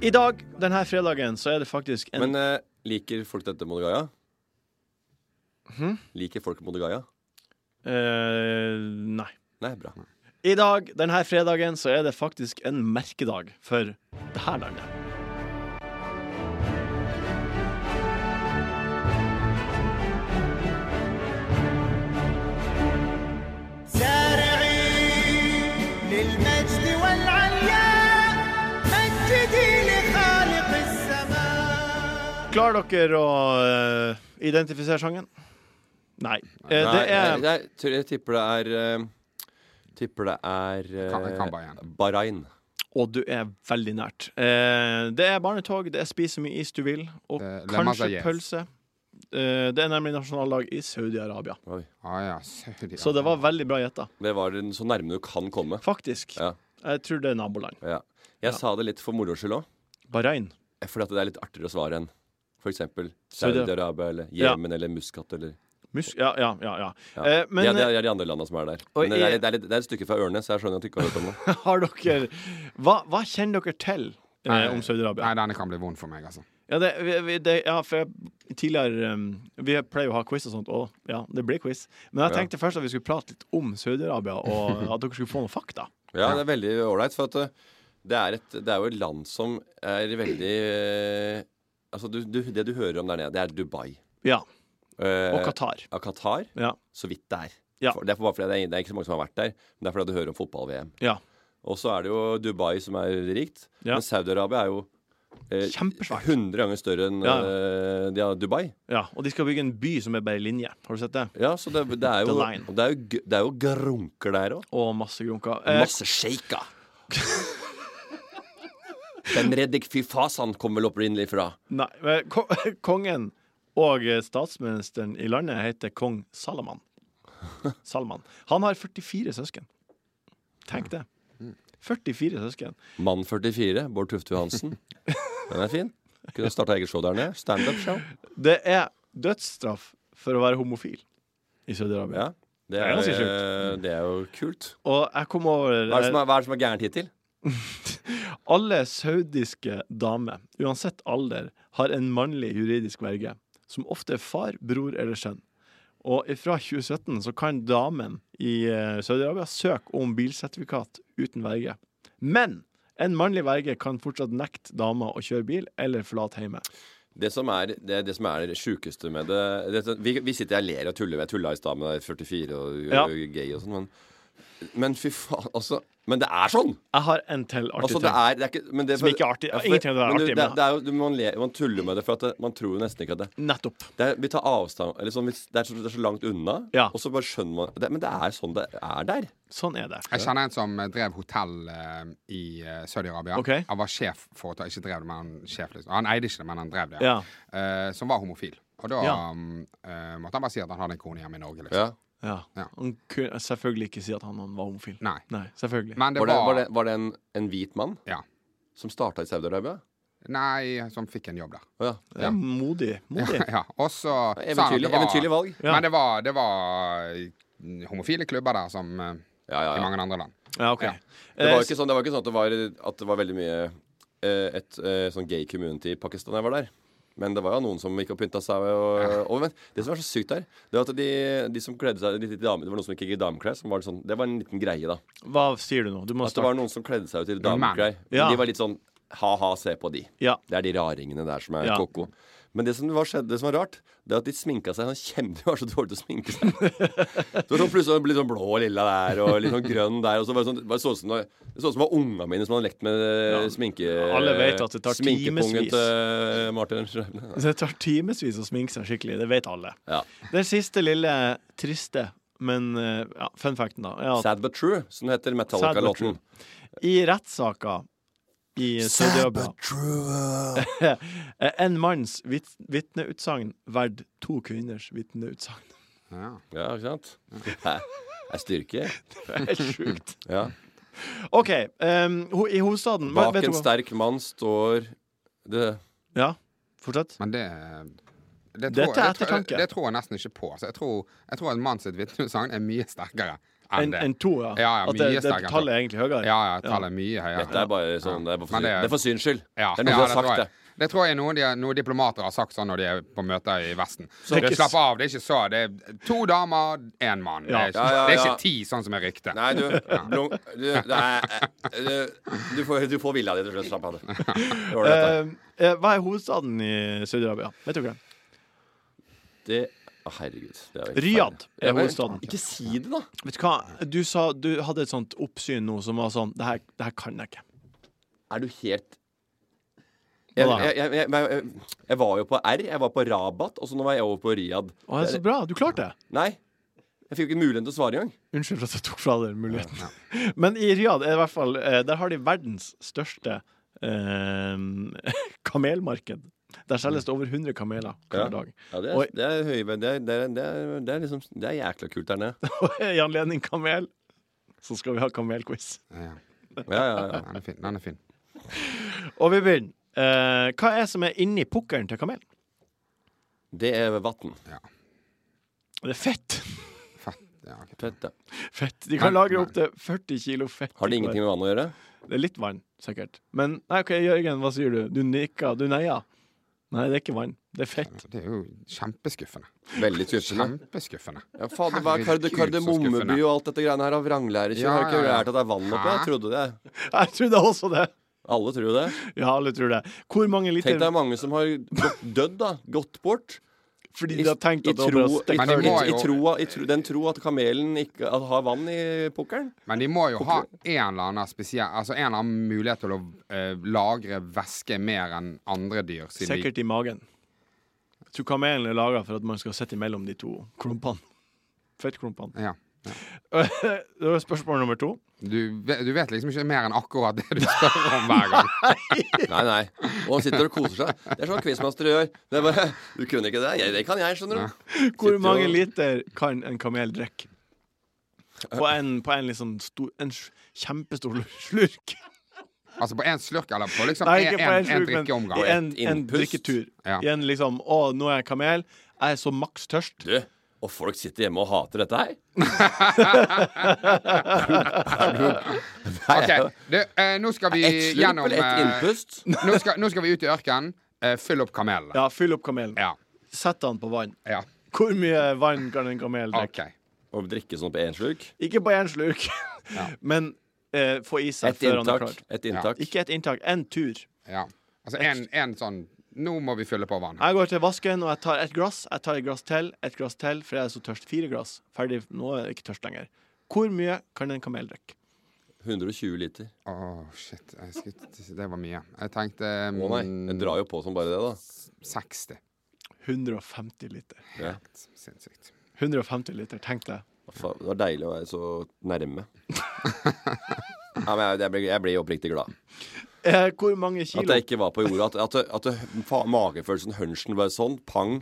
[SPEAKER 2] I dag, denne fredagen, så er det faktisk en
[SPEAKER 3] Men eh, liker folk dette Mode Gaia?
[SPEAKER 2] Hm?
[SPEAKER 3] Liker folk Mode Gaia?
[SPEAKER 2] Eh, Nei.
[SPEAKER 3] Nei, bra.
[SPEAKER 2] I dag, denne fredagen, så er det faktisk en merkedag for det her landet.
[SPEAKER 8] سارعين للمجد والعلياء مجدي لخالق السماء
[SPEAKER 2] Klarer dere å eh, identifisere sangen? Nei. Eh, det
[SPEAKER 3] Nei,
[SPEAKER 2] er
[SPEAKER 3] nei, jeg tror- jeg tipper det er eh, Tipper det er eh,
[SPEAKER 4] Kan- jeg kan bare igjen.
[SPEAKER 3] Bahrain.
[SPEAKER 2] Og du er veldig nært. Eh, det er barnetog, det er spis så mye is du vil, og
[SPEAKER 4] Eh, La
[SPEAKER 2] kanskje
[SPEAKER 4] Marseillaise.
[SPEAKER 2] pølse. Eh, det er nemlig nasjonaldag i Saudi-Arabia.
[SPEAKER 3] Oi.
[SPEAKER 4] Ah, ja, Saudi-Arabia.
[SPEAKER 2] Så det var veldig bra gjetta.
[SPEAKER 3] Det var den så nærme du kan komme.
[SPEAKER 2] Faktisk.
[SPEAKER 3] Ja.
[SPEAKER 2] Jeg tror det er naboland.
[SPEAKER 3] Ja. Jeg sa det litt for moro skyld òg,
[SPEAKER 2] Bahrain.
[SPEAKER 3] fordi at det er litt artigere å svare enn f.eks.
[SPEAKER 2] Saudi-
[SPEAKER 3] Saudi-Arabia eller
[SPEAKER 2] Ja.
[SPEAKER 3] Jemen eller Muscat eller
[SPEAKER 2] Mus ja, ja, ja. ja.
[SPEAKER 3] ja.
[SPEAKER 2] Eh, men
[SPEAKER 3] det, er, det er de andre landene som er der.
[SPEAKER 2] Og
[SPEAKER 3] Men det er,
[SPEAKER 2] jeg-
[SPEAKER 3] litt- det, er litt, det er et stykke fra ørene, så jeg skjønner at du ikke har hørt om det.
[SPEAKER 2] har dere Hva, hva kjenner dere til eh,
[SPEAKER 4] Nei.
[SPEAKER 2] om Saudi-Arabia?
[SPEAKER 4] Nei, denne kan bli vond for meg, altså.
[SPEAKER 2] Ja, det, vi, vi, det, ja, for jeg, tidligere um, Vi pleier å ha quiz og sånt, og ja, det blir quiz. Men jeg
[SPEAKER 3] Ja.
[SPEAKER 2] tenkte først at vi skulle prate litt om Saudi-Arabia, og at dere skulle få noen fakta.
[SPEAKER 3] Ja, det er veldig ålreit, for at eh, det er, et, det er jo et land som er veldig eh, Altså, du, du, det du hører om der nede, det er Dubai.
[SPEAKER 2] Ja.
[SPEAKER 3] Eh,
[SPEAKER 2] Og Qatar.
[SPEAKER 3] Ja, Qatar.
[SPEAKER 2] Ja.
[SPEAKER 3] Så vidt det er.
[SPEAKER 2] Ja.
[SPEAKER 3] For- Det, er bare fordi det, er, det er ikke så mange som har vært der, men det er fordi du hører om fotball-VM.
[SPEAKER 2] ja.
[SPEAKER 3] Og så er det jo Dubai som er rikt,
[SPEAKER 2] Ja.
[SPEAKER 3] men Saudi-Arabia er jo eh,
[SPEAKER 2] Kjempesvært.
[SPEAKER 3] 100 ganger større enn
[SPEAKER 2] Ja.
[SPEAKER 3] eh, de har Dubai.
[SPEAKER 2] ja. Og de skal bygge en by som er bare linje. Har du sett det?
[SPEAKER 3] Ja, så det, det er jo
[SPEAKER 2] The line.
[SPEAKER 3] og Det er jo, g- det er jo grunker der òg.
[SPEAKER 2] Og masse grunker. Eh,
[SPEAKER 3] Masse shaka. Ben Reddik Fifasan kom vel opprinnelig fra.
[SPEAKER 2] nei, men ko kongen og eh, statsministeren i landet heter kong Salaman. Salman. Han har 44 søsken. Tenk det.
[SPEAKER 3] Mm.
[SPEAKER 2] 44 søsken.
[SPEAKER 3] Mann 44, Bård Tufte Johansen. Den er fin. Kunne starta eget show der nede. Standup-show.
[SPEAKER 2] Det er dødsstraff for å være homofil i Saudi-Arabia.
[SPEAKER 3] Ja, det
[SPEAKER 2] er
[SPEAKER 3] er,
[SPEAKER 2] ganske
[SPEAKER 3] eh, det er jo kult.
[SPEAKER 2] Og jeg kom over
[SPEAKER 3] Hva er det
[SPEAKER 2] eh,
[SPEAKER 3] som er, hva er, det som er gærent hittil?
[SPEAKER 2] Alle saudiske damer, uansett alder, har en mannlig juridisk verge, som ofte er far, bror eller sønn. Og fra 2017 så kan damen i eh, Saudi-Arabia søke om bilsertifikat uten verge. Men En mannlig verge kan fortsatt nekte dama å kjøre bil eller forlate hjemmet.
[SPEAKER 3] Det som er det, det, som er det sjukeste med det, det som- vi, vi sitter her og ler og tuller. Jeg tulla i stad med 44 og,
[SPEAKER 2] Ja.
[SPEAKER 3] og gay og sånn, men, men fy faen, altså. Men det er sånn!
[SPEAKER 2] Jeg har en til artig
[SPEAKER 3] Altså, det
[SPEAKER 2] ting.
[SPEAKER 3] er, det er ikke, men det, er
[SPEAKER 2] Som ikke er artig.
[SPEAKER 3] Ja, for-
[SPEAKER 2] Ingenting av det er
[SPEAKER 3] men
[SPEAKER 2] artig,
[SPEAKER 3] Det,
[SPEAKER 2] men-
[SPEAKER 3] det er jo, man, ler, man tuller med det, for at det, man tror jo nesten ikke at det
[SPEAKER 2] Nettopp.
[SPEAKER 3] Det er, vi tar avstand eller sånn, hvis- det, er så, det er så langt unna,
[SPEAKER 2] Ja.
[SPEAKER 3] og så bare skjønner man det, Men det er sånn det er der.
[SPEAKER 2] Sånn er det.
[SPEAKER 4] Jeg kjenner en som eh, drev hotell eh, i eh, Saudi-Arabia.
[SPEAKER 2] Ok.
[SPEAKER 4] Han var sjef for hotell. Ikke drev det, men han sjef liksom. Han eide ikke det, men han drev det.
[SPEAKER 2] Ja.
[SPEAKER 4] Eh, som var homofil. Og da
[SPEAKER 2] Ja.
[SPEAKER 4] mm, eh, måtte han bare si at han hadde en kone hjemme i Norge. liksom.
[SPEAKER 3] Ja.
[SPEAKER 2] Ja.
[SPEAKER 4] Ja.
[SPEAKER 2] Han kunne selvfølgelig ikke si at han var homofil.
[SPEAKER 4] Nei.
[SPEAKER 2] Nei, selvfølgelig.
[SPEAKER 4] Men det
[SPEAKER 3] Var
[SPEAKER 4] var,
[SPEAKER 3] det, var det, var det en, en hvit mann
[SPEAKER 4] Ja.
[SPEAKER 3] som starta i Saudi-Arabia?
[SPEAKER 4] Nei, som fikk en jobb der.
[SPEAKER 3] Å ja.
[SPEAKER 2] Det er modig. Modig.
[SPEAKER 4] Ja, og så sa han at
[SPEAKER 3] Eventyrlig,
[SPEAKER 4] det var-
[SPEAKER 3] eventyrlig valg.
[SPEAKER 2] Ja.
[SPEAKER 4] Men det var, det var eh, homofile klubber der, som eh,
[SPEAKER 3] Ja, ja,
[SPEAKER 4] i
[SPEAKER 3] ja.
[SPEAKER 4] mange andre land.
[SPEAKER 2] Ja, OK.
[SPEAKER 4] Ja.
[SPEAKER 3] Det var
[SPEAKER 2] Eh,
[SPEAKER 3] ikke sånn, det var ikke sånn at, det var, at det var veldig mye eh, et eh, sånn gay community i Pakistan da jeg var der. Men det var jo noen som gikk og pynta seg. Og, og, men det som er så sykt der, det var at de, de som kledde seg de, de damer, Det var noen som gikk i dameklær. Som var sånn, det var en liten greie, da.
[SPEAKER 2] Hva sier du nå? Du må
[SPEAKER 3] At det var noen som kledde seg ut i
[SPEAKER 4] Noen menn.
[SPEAKER 3] dameklær. Men
[SPEAKER 2] Ja.
[SPEAKER 3] De var litt sånn ha-ha, se på de.
[SPEAKER 2] Ja.
[SPEAKER 3] Det er de raringene der som er
[SPEAKER 2] Ja.
[SPEAKER 3] koko. Men det som, var skjedd, det som var rart, det er at de sminka seg sånn kjempe... De var så dårlige til å sminke seg. Det var sånn plutselig ble det sånn blå og lilla der, og litt sånn grønn der. Og så var det sånn, bare så ut som det det så ut som det var unga mine som hadde lekt med eh, sminke...
[SPEAKER 2] alle vet at det tar
[SPEAKER 3] sminkepungen
[SPEAKER 2] timesvis.
[SPEAKER 3] til Martin Schreibner.
[SPEAKER 2] Det tar timevis å sminke seg skikkelig. Det vet alle.
[SPEAKER 3] Ja.
[SPEAKER 2] Den siste lille triste, men eh, ja, fun facten, da, er at
[SPEAKER 3] Sad But True, som heter
[SPEAKER 2] Sad But True.
[SPEAKER 3] Metallica-låten.
[SPEAKER 2] i rettssaker i Saudi-Arabia En manns vit vitneutsagn verdt to kvinners vitneutsagn.
[SPEAKER 4] Ja.
[SPEAKER 3] Ja, ikke sant? Hæ? Er styrke?
[SPEAKER 2] Det er sjukt.
[SPEAKER 3] Ja.
[SPEAKER 2] OK. em, ho I hovedstaden hva-
[SPEAKER 3] Bak
[SPEAKER 2] vet du
[SPEAKER 3] en
[SPEAKER 2] hva-
[SPEAKER 3] sterk mann står det
[SPEAKER 2] Ja, fortsett.
[SPEAKER 4] Men det det
[SPEAKER 2] Dette er
[SPEAKER 4] tror, jeg- det, tror,
[SPEAKER 2] ettertanke.
[SPEAKER 4] jeg- det tror jeg nesten ikke på. Så jeg tror, jeg tror at mann sitt vitnesagn er mye sterkere enn
[SPEAKER 2] En,
[SPEAKER 4] det.
[SPEAKER 2] en to, ja.
[SPEAKER 4] Ja, ja,
[SPEAKER 2] At det,
[SPEAKER 4] mye
[SPEAKER 2] det
[SPEAKER 4] sterkere.
[SPEAKER 2] tallet er egentlig høyere.
[SPEAKER 4] Ja, ja, tallet er mye høyere.
[SPEAKER 3] Dette er bare sånn Det er, bare for,
[SPEAKER 4] Men
[SPEAKER 3] det,
[SPEAKER 4] det-
[SPEAKER 3] er for syns skyld.
[SPEAKER 4] Ja,
[SPEAKER 3] Det er noen
[SPEAKER 4] ja,
[SPEAKER 3] som har
[SPEAKER 4] tror
[SPEAKER 3] sagt
[SPEAKER 4] jeg.
[SPEAKER 3] det.
[SPEAKER 4] Det tror jeg er noe, de, noe diplomater har sagt sånn når de er på møter i Vesten.
[SPEAKER 2] Så-
[SPEAKER 4] Dere slapp av, det er ikke så. Det er to damer, én mann.
[SPEAKER 2] Ja.
[SPEAKER 4] Det, er ikke,
[SPEAKER 3] Ja, ja,
[SPEAKER 4] det er
[SPEAKER 3] ja.
[SPEAKER 4] ikke ti, sånn som er ryktet.
[SPEAKER 3] Nei, du, blom, du, nei, du, du, får, du får vilja di til slutt. Slapp av, du. Det var det dette.
[SPEAKER 2] Em, eh, hva er hovedstaden i Saudi-Arabia? Vet du ikke?
[SPEAKER 3] Det Å, herregud. Det er jo helt
[SPEAKER 2] Riyadh
[SPEAKER 3] feil.
[SPEAKER 2] er
[SPEAKER 3] Ja, men-
[SPEAKER 2] hovedstaden.
[SPEAKER 3] Ikke si det, da.
[SPEAKER 2] Vet du hva? Du sa du hadde et sånt oppsyn nå som var sånn Det her, det her kan jeg ikke.
[SPEAKER 3] Er du helt jeg,
[SPEAKER 2] Hva da?
[SPEAKER 3] jeg, jeg, jeg, jeg, jeg var jo på R, jeg var på Rabat, og så nå var jeg over på Riyadh.
[SPEAKER 2] Å, det er så bra. Du klarte det.
[SPEAKER 3] Nei. Jeg fikk jo ikke muligheten til å svare engang.
[SPEAKER 2] Unnskyld for at jeg tok fra deg den muligheten. Men i Riyadh er det i hvert fall eh, Der har de verdens største eh, kamelmarked. Der selges det over 100 kameler hver dag.
[SPEAKER 3] Ja, det
[SPEAKER 2] Oi.
[SPEAKER 3] er, det er høyve... Det er, det, er, det, er, det er liksom Det er jækla kult der nede.
[SPEAKER 2] Og i anledning kamel så skal vi ha kamelquiz.
[SPEAKER 4] Ja,
[SPEAKER 3] Ja, ja, ja.
[SPEAKER 4] den er fin. Den er fin.
[SPEAKER 2] Og vi begynner. Eh, hva er det som er inni pukkelen til kamelen?
[SPEAKER 3] Det er vann.
[SPEAKER 2] Det er fett.
[SPEAKER 4] Fett. Ja, ok.
[SPEAKER 3] Fett, ja.
[SPEAKER 2] Fett. De kan lagre opptil 40 kilo fett.
[SPEAKER 3] Har det
[SPEAKER 2] i hver.
[SPEAKER 3] ingenting med vann å gjøre?
[SPEAKER 2] Det er litt vann, sikkert. Men nei, ok, Jørgen, hva sier du? Du nikker, du neier. Nei, det er ikke vann. Det er fett.
[SPEAKER 4] Det er jo kjempeskuffende.
[SPEAKER 3] Veldig skuffende.
[SPEAKER 4] Kjempeskuffende.
[SPEAKER 3] Ja, fader, hva er karde,
[SPEAKER 4] Herregud, så
[SPEAKER 3] Kardemommeby
[SPEAKER 4] skuffende.
[SPEAKER 3] og alt dette greiene her av vranglære?
[SPEAKER 4] Ja,
[SPEAKER 3] Har ikke
[SPEAKER 4] ja, ja.
[SPEAKER 3] lært at det er vann oppi? Jeg
[SPEAKER 4] Hæ?
[SPEAKER 3] trodde det.
[SPEAKER 2] Jeg trodde også det.
[SPEAKER 3] Alle tror jo det.
[SPEAKER 2] Ja, alle tror det. Hvor mange liter
[SPEAKER 3] Tenk deg mange som har gått- dødd, da. Gått bort.
[SPEAKER 2] Fordi
[SPEAKER 3] I,
[SPEAKER 2] de har tenkt
[SPEAKER 3] i,
[SPEAKER 2] at det var
[SPEAKER 3] tro,
[SPEAKER 2] bare å
[SPEAKER 3] i,
[SPEAKER 2] stikke
[SPEAKER 4] Men de
[SPEAKER 2] hull
[SPEAKER 3] i,
[SPEAKER 4] må
[SPEAKER 3] i,
[SPEAKER 4] jo-
[SPEAKER 3] troa, i tro, den tro at kamelen ikke at har vann i pukkelen.
[SPEAKER 4] Men de må jo ha en eller annen spesiell Altså en eller annen mulighet til å eh, lagre væske mer enn andre dyr. Siden de-
[SPEAKER 2] sikkert i magen. Jeg tror kamelen er laga for at man skal sitte imellom de to klumpene. Fettklumpene.
[SPEAKER 4] ja.
[SPEAKER 2] Det var spørsmål nummer to.
[SPEAKER 4] du, vet- du vet liksom ikke mer enn akkurat det du spør om hver gang.
[SPEAKER 3] Nei, nei. Og han sitter og koser seg. Det er sånn quizmaster gjør. Det er bare, du kunne ikke det? Jeg, det kan jeg, skjønner du.
[SPEAKER 2] Hvor
[SPEAKER 3] Sitter
[SPEAKER 2] mange
[SPEAKER 3] og-
[SPEAKER 2] liter kan en kamel drikke? På en, på en liksom stor En sj- kjempestor slurk.
[SPEAKER 4] Altså på én slurk, eller på liksom
[SPEAKER 2] Nei,
[SPEAKER 4] en,
[SPEAKER 2] ikke på
[SPEAKER 4] en,
[SPEAKER 2] en slurk,
[SPEAKER 4] drikkeomgang.
[SPEAKER 2] men i en, en
[SPEAKER 3] Innpust.
[SPEAKER 2] drikketur.
[SPEAKER 4] Ja.
[SPEAKER 2] I en liksom Å, nå er jeg kamel. Jeg er så maks tørst.
[SPEAKER 3] Du, og folk sitter hjemme og hater dette her. Er du- er du-
[SPEAKER 4] Ok, du, eh, nå skal vi
[SPEAKER 3] Et slurp
[SPEAKER 4] gjennom
[SPEAKER 3] eller et
[SPEAKER 4] eh,
[SPEAKER 3] innpust?
[SPEAKER 4] nå, skal, nå skal vi ut i ørkenen. Eh, fyll opp kamelene.
[SPEAKER 2] Ja, fyll opp kamelen.
[SPEAKER 4] Ja.
[SPEAKER 2] Sett den på vann.
[SPEAKER 4] ja.
[SPEAKER 2] Hvor mye vann kan en kamel drikke?
[SPEAKER 4] OK.
[SPEAKER 3] Og drikke sånn på én slurk?
[SPEAKER 2] Ikke på én slurk, men eh, eh, få i seg
[SPEAKER 3] Et
[SPEAKER 2] før han er
[SPEAKER 3] inntak.
[SPEAKER 2] klar.
[SPEAKER 3] Et inntak.
[SPEAKER 2] Ikke et inntak, en tur.
[SPEAKER 4] Ja. Altså en, en sånn Nå må vi fylle på vann.
[SPEAKER 2] Jeg går til vasken og jeg tar et glass, jeg tar et glass til, et glass til, for jeg er så tørst. Fire glass. Ferdig. Nå er jeg ikke tørst lenger. Hvor mye kan en kamel drikke?
[SPEAKER 3] 120 liter.
[SPEAKER 4] Å, shit. Jeg skulle, det var mye. Jeg tenkte mm,
[SPEAKER 3] Å nei, den drar jo på som bare det, da.
[SPEAKER 4] 60.
[SPEAKER 2] 150 liter.
[SPEAKER 4] Sinnssykt.
[SPEAKER 2] 150 liter, tenk deg.
[SPEAKER 3] Fa- Det var deilig å være så nærme. Ja, men jeg, jeg, ble, jeg ble oppriktig glad.
[SPEAKER 2] Eh, hvor mange
[SPEAKER 3] At
[SPEAKER 2] kilo?
[SPEAKER 3] jeg ikke var på jorda. At, at, at fa, magefølelsen, hunchen, var sånn. Pang.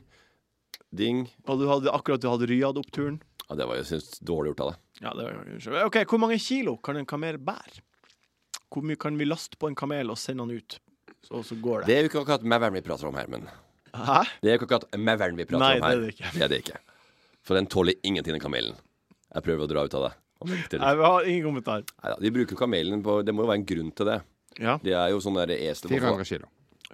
[SPEAKER 3] Ding.
[SPEAKER 2] Og du hadde, akkurat du hadde rydd opp turen?
[SPEAKER 3] Ja, det var jo synes, dårlig gjort av deg.
[SPEAKER 2] Ja, det var unnskyld. OK, hvor mange kilo kan en kamel bære? Hvor mye kan vi laste på en kamel og sende han ut? Så, så går det.
[SPEAKER 3] Det er jo ikke akkurat Mævern vi prater om her, men
[SPEAKER 2] Hæ?
[SPEAKER 3] Det er jo ikke akkurat Mævern vi prater
[SPEAKER 2] Nei,
[SPEAKER 3] om
[SPEAKER 2] det
[SPEAKER 3] her.
[SPEAKER 2] er det ikke.
[SPEAKER 3] det ikke. For den tåler ingenting, den kamelen. Jeg prøver å dra ut av deg. Om det er riktig eller
[SPEAKER 2] Jeg har ingen kommentar.
[SPEAKER 3] Nei da, de bruker jo kamelen på Det må jo være en grunn til det.
[SPEAKER 2] Ja,
[SPEAKER 3] Det er jo sånn der esel
[SPEAKER 4] 400 kilo.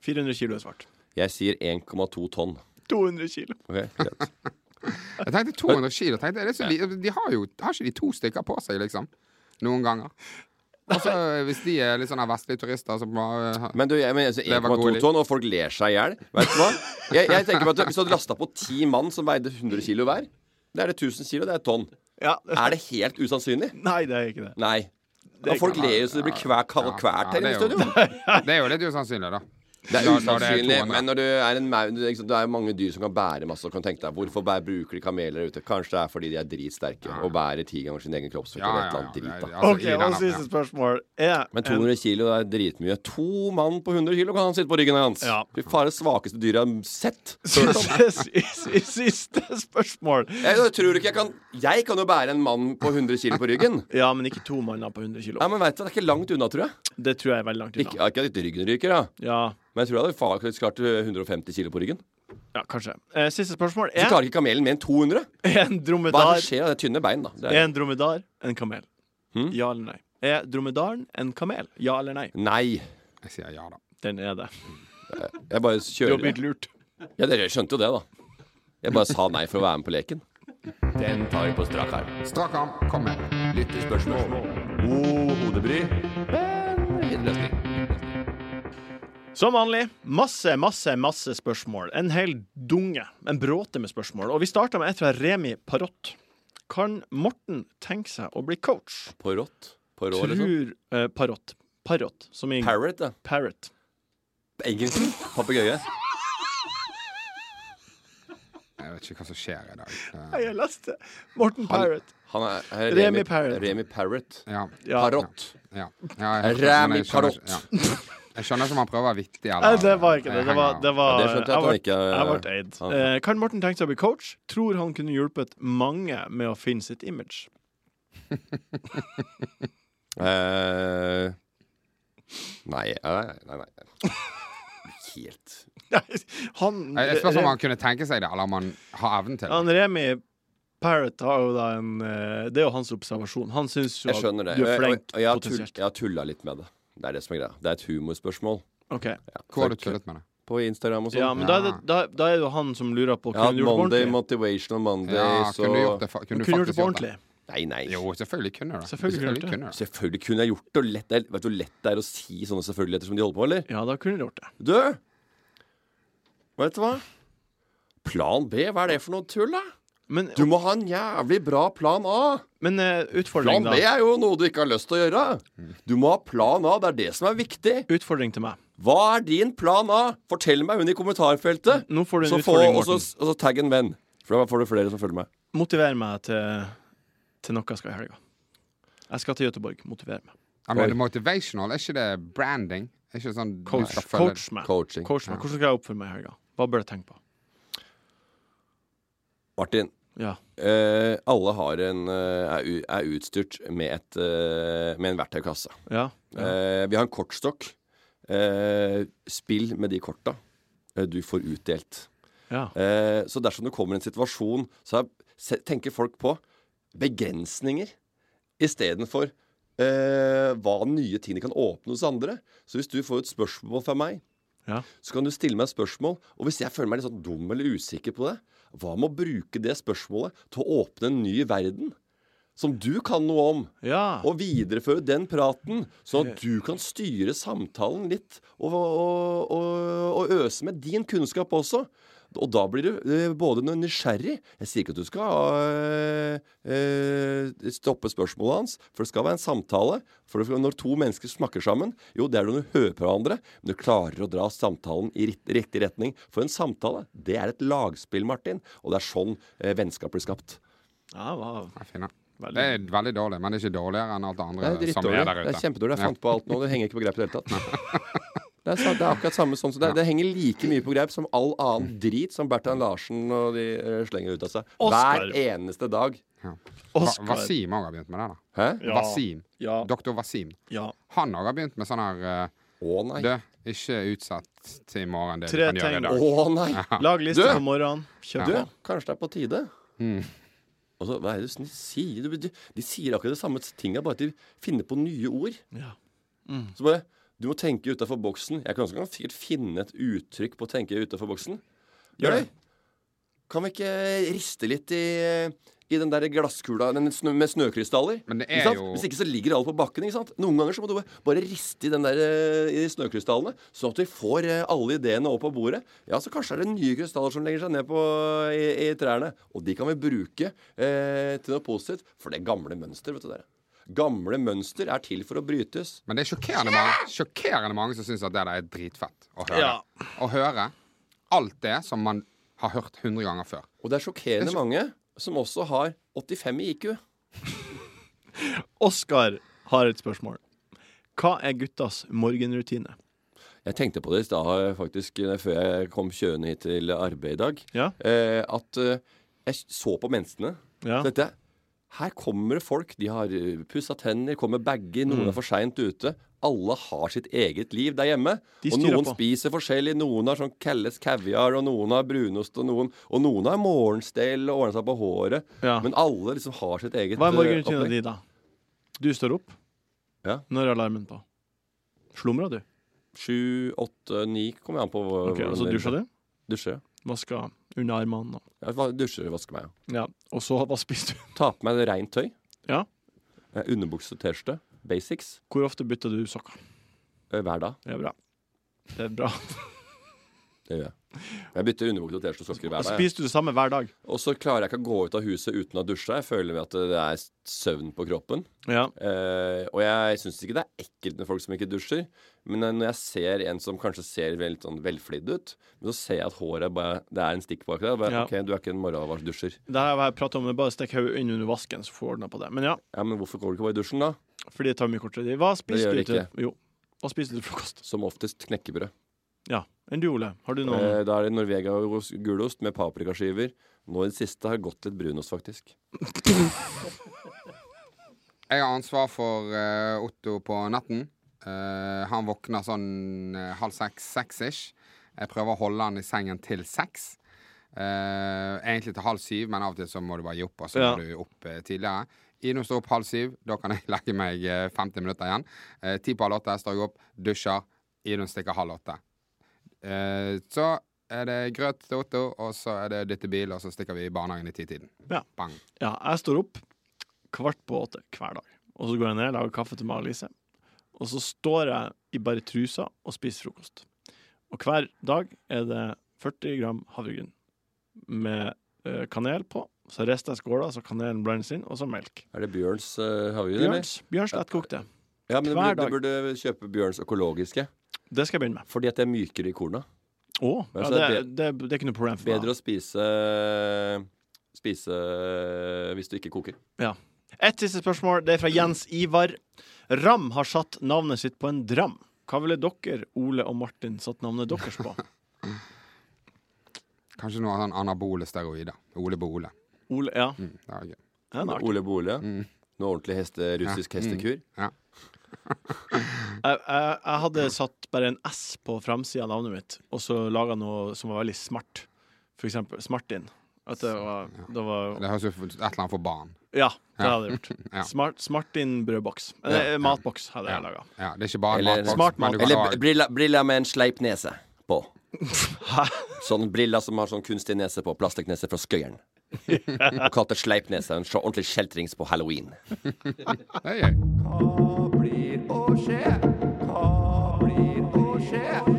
[SPEAKER 2] 400 kilo er svart.
[SPEAKER 3] Jeg sier 1,2 tonn.
[SPEAKER 2] 200 kilo.
[SPEAKER 3] Ok, greit.
[SPEAKER 4] Jeg tenkte 200 kilo. Tenkte, er det så li altså, de har jo har ikke de to stykker på seg, liksom. Noen ganger. Altså, hvis de er litt sånne vestlige turister eh, som bare
[SPEAKER 3] Men du, jeg mener altså,
[SPEAKER 4] var god
[SPEAKER 3] 1,2
[SPEAKER 4] litt.
[SPEAKER 3] tonn, og folk ler seg i hjel. Vet du hva? Jeg, jeg tenker på at Hvis du hadde lasta på ti mann som veide 100 kilo hver, da er det 1000 kilo, det er et tonn.
[SPEAKER 2] Ja.
[SPEAKER 3] Er det helt usannsynlig?
[SPEAKER 2] Nei, det er ikke det.
[SPEAKER 3] Nei. Ja, folk ler jo så det blir kvært kvær,
[SPEAKER 4] ja,
[SPEAKER 3] her
[SPEAKER 4] det
[SPEAKER 3] i
[SPEAKER 4] er jo-
[SPEAKER 3] studio.
[SPEAKER 4] Det er jo litt usannsynlig, da. Da-
[SPEAKER 3] Det er
[SPEAKER 4] da det er
[SPEAKER 3] usannsynlig,
[SPEAKER 4] 200.
[SPEAKER 3] men når du er en maur Det er jo mange dyr som kan bære masse. Og kan tenke deg, Hvorfor bæ- bruker de kameler ute? Kanskje det er fordi de er dritsterke og bærer ti ganger sin egen kroppsvekt. eller et eller annet
[SPEAKER 4] det er-
[SPEAKER 3] drit, da.
[SPEAKER 4] altså,
[SPEAKER 2] OK,
[SPEAKER 4] i den
[SPEAKER 2] og
[SPEAKER 4] andre, ja.
[SPEAKER 2] siste spørsmål er
[SPEAKER 3] Men 200 kilo det er dritmye. To mann på 100 kilo kan han sitte på ryggen hans.
[SPEAKER 2] Ja.
[SPEAKER 3] Fy faen, det svakeste dyret jeg har sett.
[SPEAKER 2] Siste, siste spørsmål.
[SPEAKER 3] Jeg, jeg tror ikke jeg kan Jeg kan jo bære en mann på 100 kilo på ryggen.
[SPEAKER 2] Ja, men ikke to manner på 100 kilo.
[SPEAKER 3] Nei, men vet du, Det er ikke langt unna, tror jeg.
[SPEAKER 2] Det tror jeg er veldig langt
[SPEAKER 3] Ikke,
[SPEAKER 2] unna.
[SPEAKER 3] ja, ikke at ryggen ryker, da.
[SPEAKER 2] Ja,
[SPEAKER 3] Men jeg tror jeg hadde faktisk klart eh, 150 kilo på ryggen.
[SPEAKER 2] ja kanskje. Eh, Siste spørsmål
[SPEAKER 3] Så
[SPEAKER 2] er
[SPEAKER 3] klarer ikke kamelen mer enn
[SPEAKER 2] en
[SPEAKER 3] 200. Hva er det
[SPEAKER 2] dromedar
[SPEAKER 3] som skjer? Det er tynne bein, da. Det
[SPEAKER 2] Er
[SPEAKER 3] er,
[SPEAKER 2] en dromedar en kamel? Ja eller nei? Er dromedaren en kamel? Ja eller nei?
[SPEAKER 3] nei.
[SPEAKER 4] Jeg sier ja, da.
[SPEAKER 2] Den er det.
[SPEAKER 3] Jeg bare
[SPEAKER 2] Du har
[SPEAKER 3] kjører.
[SPEAKER 2] blitt lurt.
[SPEAKER 3] Ja, dere skjønte jo det, da. Jeg bare sa nei for å være med på leken. Den tar vi på strak arm.
[SPEAKER 4] Strak arm, kom med.
[SPEAKER 3] Lyttespørsmål. God hodebry, men hederløsning.
[SPEAKER 2] Som vanlig, masse, masse, masse spørsmål. En hel dunge. En bråte med spørsmål. Og vi starter med et fra Remi Parott. Kan Morten tenke seg å bli coach?
[SPEAKER 3] På rått. På rå,
[SPEAKER 2] Tror
[SPEAKER 3] liksom.
[SPEAKER 2] eh, Parott. Parott, som i
[SPEAKER 3] Parrot, da.
[SPEAKER 2] parrot.
[SPEAKER 3] Engelsk. Papegøye.
[SPEAKER 4] Jeg vet ikke hva som skjer i dag. Eh,
[SPEAKER 2] Jeg leste Morten Parrot.
[SPEAKER 3] Han er, er
[SPEAKER 2] Remi Parrot.
[SPEAKER 3] Remi Parrot.
[SPEAKER 4] Ja.
[SPEAKER 2] Ja.
[SPEAKER 3] Parrot.
[SPEAKER 4] ja. ja jeg,
[SPEAKER 3] Ram i
[SPEAKER 4] jeg skjønner-
[SPEAKER 3] parott.
[SPEAKER 4] sånn- ja. Jeg skjønner ikke om han prøver å være vittig. eller-
[SPEAKER 2] Nei, det var ikke det. Det var, det var
[SPEAKER 3] Ja, det skjønte jeg at han
[SPEAKER 2] ble-
[SPEAKER 3] ikke, eh,
[SPEAKER 2] Jeg ble eid.
[SPEAKER 3] han-
[SPEAKER 2] Eh, kan Morten tenke seg å bli coach? Tror han kunne hjulpet mange med å finne sitt image.
[SPEAKER 3] Eh, nei, nei, nei, nei. Helt
[SPEAKER 2] Han,
[SPEAKER 4] Jeg jeg spørs om han kunne tenke seg det, eller om han har evnen til det.
[SPEAKER 2] Han Remi Parrot har jo da en eh, Det er jo hans observasjon. Han syns jo
[SPEAKER 3] Jeg skjønner det.
[SPEAKER 2] du er
[SPEAKER 3] Og-
[SPEAKER 2] flink
[SPEAKER 3] og jeg, har tull-
[SPEAKER 2] potensielt.
[SPEAKER 3] jeg har tulla litt med det. Det er det som er greia. Det er et humorspørsmål.
[SPEAKER 2] Ok.
[SPEAKER 3] Ja,
[SPEAKER 4] Hvor har du
[SPEAKER 3] så jeg-
[SPEAKER 4] tullet med det?
[SPEAKER 3] På Instagram og sånn.
[SPEAKER 2] Ja, men da er, det, da, da er det jo han som lurer på
[SPEAKER 3] Ja,
[SPEAKER 2] Kunne du gjort det
[SPEAKER 3] Monday
[SPEAKER 2] ordentlig?
[SPEAKER 3] Motivational Monday,
[SPEAKER 4] Ja,
[SPEAKER 3] så
[SPEAKER 4] kunne du gjort det, fa- kunne
[SPEAKER 2] Kunne
[SPEAKER 4] du
[SPEAKER 2] du gjort det
[SPEAKER 4] faktisk
[SPEAKER 2] på
[SPEAKER 4] gjort
[SPEAKER 2] ordentlig?
[SPEAKER 4] det?
[SPEAKER 3] Nei, nei.
[SPEAKER 4] Jo, selvfølgelig kunne du det.
[SPEAKER 2] Selvfølgelig kunne du det.
[SPEAKER 4] kunne du det.
[SPEAKER 3] Selvfølgelig kunne jeg gjort det. Og lett, det er- vet du hvor lett det er å si sånne selvfølgeligheter som de holder på med, eller?
[SPEAKER 2] Ja, da kunne du gjort det.
[SPEAKER 3] Du! Vet du hva? Plan B, hva er det for noe tull, da?
[SPEAKER 2] Men,
[SPEAKER 3] Du må ha en jævlig bra plan A!
[SPEAKER 2] men eh,
[SPEAKER 3] Plan
[SPEAKER 2] utfordring,
[SPEAKER 3] B
[SPEAKER 2] da.
[SPEAKER 3] er jo noe du ikke har lyst til å gjøre. Du må ha plan A. Det er det som er viktig.
[SPEAKER 2] Utfordring til meg.
[SPEAKER 3] Hva er din plan A? Fortell meg under i kommentarfeltet.
[SPEAKER 2] Nå får du en
[SPEAKER 3] Så få,
[SPEAKER 2] utfordring,
[SPEAKER 3] og, så,
[SPEAKER 2] Morten.
[SPEAKER 3] og så tagg en venn. For da får du flere som følger meg.
[SPEAKER 2] Motiver meg til, til noe jeg skal i helga. Jeg skal til Göteborg. Motiver meg.
[SPEAKER 4] Ja, men motivational, er ikke det branding? Er ikke det sånn
[SPEAKER 2] Coach,
[SPEAKER 4] du skal følge
[SPEAKER 2] coach meg.
[SPEAKER 3] Coaching.
[SPEAKER 2] Coach meg. Hvordan skal jeg oppføre meg i helga? Hva bør jeg tenke på?
[SPEAKER 3] Martin,
[SPEAKER 2] Ja.
[SPEAKER 3] eh, alle har en, eh, er, u- er utstyrt med, et, eh, med en verktøykasse.
[SPEAKER 2] Ja. ja.
[SPEAKER 3] Eh, vi har en kortstokk. Eh, spill med de korta eh, du får utdelt.
[SPEAKER 2] ja.
[SPEAKER 3] Eh, så dersom det kommer en situasjon, så er, se, tenker folk på begrensninger istedenfor eh, hva nye ting de kan åpne hos andre. Så hvis du får et spørsmål fra meg,
[SPEAKER 2] Ja.
[SPEAKER 3] så kan du stille meg et spørsmål. Og hvis jeg føler meg litt sånn dum eller usikker på det, hva med å bruke det spørsmålet til å åpne en ny verden? som du kan noe om.
[SPEAKER 2] Ja.
[SPEAKER 3] Og videreføre den praten, sånn at du kan styre samtalen litt. Og, og, og, og øse med din kunnskap også. Og da blir du eh, både noe nysgjerrig Jeg sier ikke at du skal eh, eh, stoppe spørsmålet hans, for det skal være en samtale. For det- når to mennesker snakker sammen, jo, det er når du hører på hverandre, men du klarer å dra samtalen i ritt- riktig retning. For en samtale, det er et lagspill, Martin. Og det er sånn eh, vennskap blir skapt.
[SPEAKER 2] Ja, hva-
[SPEAKER 4] Jeg finner.
[SPEAKER 2] Veldig.
[SPEAKER 4] Det er veldig dårlig, men det er ikke dårligere enn alt det
[SPEAKER 3] Det
[SPEAKER 4] andre
[SPEAKER 3] er
[SPEAKER 4] Eh, som er
[SPEAKER 3] drittdårlig.
[SPEAKER 4] der ute.
[SPEAKER 3] Det er kjempedårlig. Jeg fant på alt nå. Det henger ikke på greip i det hele tatt. Det er, sa- det er akkurat samme sånn som det, er. det henger like mye på greip som all annen drit som Bertrand Larsen og de eh, slenger ut av seg.
[SPEAKER 2] Oscar.
[SPEAKER 3] Hver eneste dag.
[SPEAKER 2] Oscar.
[SPEAKER 4] Va Wasim også har begynt med det. da
[SPEAKER 3] Hæ?
[SPEAKER 2] Ja.
[SPEAKER 4] Wasim.
[SPEAKER 2] Ja.
[SPEAKER 4] Doktor Wasim.
[SPEAKER 2] Ja.
[SPEAKER 4] Han også har begynt med sånn her eh,
[SPEAKER 3] Å nei.
[SPEAKER 4] Du, ikke utsatt til i morgen det du
[SPEAKER 2] Tre
[SPEAKER 4] kan gjøre i
[SPEAKER 2] tegn.
[SPEAKER 4] dag.
[SPEAKER 3] Å nei.
[SPEAKER 2] Lag liste
[SPEAKER 3] Du!
[SPEAKER 2] på morgenen. Kjøp
[SPEAKER 3] Du,
[SPEAKER 2] den.
[SPEAKER 3] kanskje det er på tide?
[SPEAKER 4] Hmm.
[SPEAKER 3] Og så, hva er det de sier? Du- du- De sier akkurat det samme tinga, bare at de finner på nye ord.
[SPEAKER 2] Ja.
[SPEAKER 3] Så bare Du må tenke utafor boksen. Jeg kan også kan sikkert finne et uttrykk på å tenke utafor boksen. Gjør det. Kan vi ikke riste litt i, i den der glasskula den snø, med snøkrystaller?
[SPEAKER 4] Men det
[SPEAKER 3] Ikke
[SPEAKER 4] er
[SPEAKER 3] sant?
[SPEAKER 4] jo-
[SPEAKER 3] Hvis ikke så ligger alt på bakken. ikke sant? Noen ganger så må du bare- bare riste i den der eh, i snøkrystallene, sånn at vi får eh, alle ideene opp på bordet. Ja, så kanskje er det nye krystaller som legger seg ned på, i, i trærne. Og de kan vi bruke eh, til noe positivt, for det er gamle mønster, vet du dere. Gamle mønster er til for å brytes.
[SPEAKER 4] Men det er sjokkerende mange, sjokkerende mange som syns at det der er dritfett å høre.
[SPEAKER 2] Ja.
[SPEAKER 4] Å høre alt det som man har hørt 100 ganger før.
[SPEAKER 3] Og det er sjokkerende
[SPEAKER 4] Det er sjok-
[SPEAKER 3] mange som også har 85 i IQ.
[SPEAKER 2] Oskar har et spørsmål. Hva er guttas morgenrutine?
[SPEAKER 3] Jeg tenkte på det i stad eh, faktisk eh, før jeg kom kjørende hit til arbeid i dag.
[SPEAKER 2] Ja.
[SPEAKER 3] Eh, at eh, jeg så på menneskene.
[SPEAKER 2] Ja.
[SPEAKER 3] Så tenkte jeg her kommer det folk. De har pussa tenner, kommer med bager,
[SPEAKER 2] Mm.
[SPEAKER 3] noen er for seint ute. Alle har sitt eget liv der hjemme.
[SPEAKER 2] De
[SPEAKER 3] og
[SPEAKER 2] styrer
[SPEAKER 3] noen
[SPEAKER 2] på.
[SPEAKER 3] spiser forskjellig. Noen har sånn Kalles kaviar, og noen har brunost, og noen Og noen har morgenstell og ordna seg på håret.
[SPEAKER 2] Ja.
[SPEAKER 3] Men alle liksom har sitt eget
[SPEAKER 2] Hva er
[SPEAKER 3] eh,
[SPEAKER 2] morgenrutina
[SPEAKER 3] opplegg.
[SPEAKER 2] di, da? Du står opp.
[SPEAKER 3] Ja.
[SPEAKER 2] Når er alarmen på? Slumra du?
[SPEAKER 3] Sju, åtte, ni kommer jeg an på. hva-
[SPEAKER 2] Ok,
[SPEAKER 3] hvordan
[SPEAKER 2] altså
[SPEAKER 3] det-
[SPEAKER 2] Dusja du?
[SPEAKER 3] Dusjer, ja.
[SPEAKER 2] Vaska under armene? og-
[SPEAKER 3] Jeg va- dusjer og vasker meg. ja.
[SPEAKER 2] Ja. Og så hva spiser du?
[SPEAKER 3] Ta på meg rent tøy.
[SPEAKER 2] Ja.
[SPEAKER 3] Eh, Underbukse, T-skjorte. Basics.
[SPEAKER 2] Hvor ofte bytter du sokker?
[SPEAKER 3] eh, Hver dag.
[SPEAKER 2] Det er bra. Det er bra.
[SPEAKER 3] Det gjør jeg. Jeg bytter underbukse og T-skjorte og sokker hver dag. jeg.
[SPEAKER 2] Spiser du det samme hver dag?
[SPEAKER 3] Og så klarer jeg ikke å gå ut av huset uten å dusje. Jeg føler at det er søvn på kroppen.
[SPEAKER 2] Ja.
[SPEAKER 3] Eh, og jeg syns ikke det er ekkelt med folk som ikke dusjer. Men eh, når jeg ser en som kanskje ser veldig sånn velflidd ut, men så ser jeg at håret bare, det er en stikk bak der. og Bare,
[SPEAKER 2] Ja.
[SPEAKER 3] Ok, du er ikke en morgenvarsdusjer.
[SPEAKER 2] Det her har jeg pratet om, men bare stikk hodet inn under vasken, så får du ordna på det. Men ja,
[SPEAKER 3] Ja, men hvorfor går du ikke bare i dusjen, da?
[SPEAKER 2] fordi det tar mye kortere tid. Hva
[SPEAKER 3] Det
[SPEAKER 2] spiser
[SPEAKER 3] gjør
[SPEAKER 2] du
[SPEAKER 3] det
[SPEAKER 2] til Jo. Hva spiser du til frokost?
[SPEAKER 3] Som oftest knekkebrød.
[SPEAKER 2] Ja. Enn du, Ole? Har du noe
[SPEAKER 3] Eh, Da er det Norvega og ros- gulost med paprikaskiver. Nå i det siste har jeg gått litt brunost, faktisk.
[SPEAKER 4] Jeg har ansvar for eh, Otto på natten. Eh, han våkner sånn eh, halv seks, seks-ish. Jeg prøver å holde han i sengen til seks. Eh, egentlig til halv syv, men av og til så må du bare gi opp. Og så
[SPEAKER 2] Ja.
[SPEAKER 4] må du opp eh, tidligere. Ino står opp halv syv. Da kan jeg legge meg eh, 50 minutter igjen. Eh, Ti på halv åtte står jeg opp, dusjer. Ino stikker halv åtte. Eh, så er det grøt til Otto, og så er det dytte bil, og så stikker vi i barnehagen i titiden.
[SPEAKER 2] Ja.
[SPEAKER 4] Bang.
[SPEAKER 2] Ja, jeg står opp kvart på åtte hver dag. Og så går jeg ned, lager kaffe til meg og Lise. Og så står jeg i bare trusa og spiser frokost. Og hver dag er det 40 gram havregryn med eh, kanel på. Så rister jeg skåla, så kanelen blandes inn, og så melk.
[SPEAKER 3] Er det Bjørns uh, havregryn, eller?
[SPEAKER 2] Bjørns, Bjørns lettkokte.
[SPEAKER 3] Ja, men du
[SPEAKER 2] Hver
[SPEAKER 3] burde,
[SPEAKER 2] dag.
[SPEAKER 3] du burde kjøpe Bjørns økologiske.
[SPEAKER 2] Det skal jeg begynne med.
[SPEAKER 3] Fordi at det er mykere i korna.
[SPEAKER 2] Å, ja,
[SPEAKER 3] Ja, så
[SPEAKER 2] det,
[SPEAKER 3] altså, det er
[SPEAKER 2] det, det er ikke noe problem for meg.
[SPEAKER 3] Bedre å spise eh, Spise eh, hvis du ikke koker.
[SPEAKER 2] Ja. Et siste spørsmål. Det er fra Jens Ivar. Ram har satt navnet sitt på en dram. Hva ville dere, Ole og Martin, satt navnet deres på?
[SPEAKER 4] Kanskje noe sånn anabole steroider. Ole Bole.
[SPEAKER 2] Ole, ja.
[SPEAKER 4] Mm, det er gøy.
[SPEAKER 2] ja det er artig.
[SPEAKER 3] Ole Bole. Noe ordentlig heste, russisk
[SPEAKER 2] Mm.
[SPEAKER 3] hestekur.
[SPEAKER 2] jeg, jeg, jeg hadde satt bare en S på framsida av navnet mitt, og så laga noe som var veldig smart. For eksempel Smartin. At det var, det var
[SPEAKER 4] Det høres ut som et eller annet for barn.
[SPEAKER 2] Ja, det hadde jeg gjort.
[SPEAKER 4] Ja.
[SPEAKER 2] Smart, smartin brødboks. Eh, matboks hadde jeg laga.
[SPEAKER 4] Ja, det er ikke bare
[SPEAKER 3] Eller-
[SPEAKER 4] matboks,
[SPEAKER 2] Smart
[SPEAKER 4] men du
[SPEAKER 2] mat.
[SPEAKER 4] kan
[SPEAKER 3] Eller
[SPEAKER 4] lage-
[SPEAKER 3] brilla, brilla med en sleip nese på. Sånn brilla som har sånn kunstig nese på. Plastikknese fra Skøyeren. Og kalte sleipneseren så ordentlig kjeltrings på halloween.
[SPEAKER 4] Hei, hei.
[SPEAKER 8] Hva blir å skje? Hva blir å skje?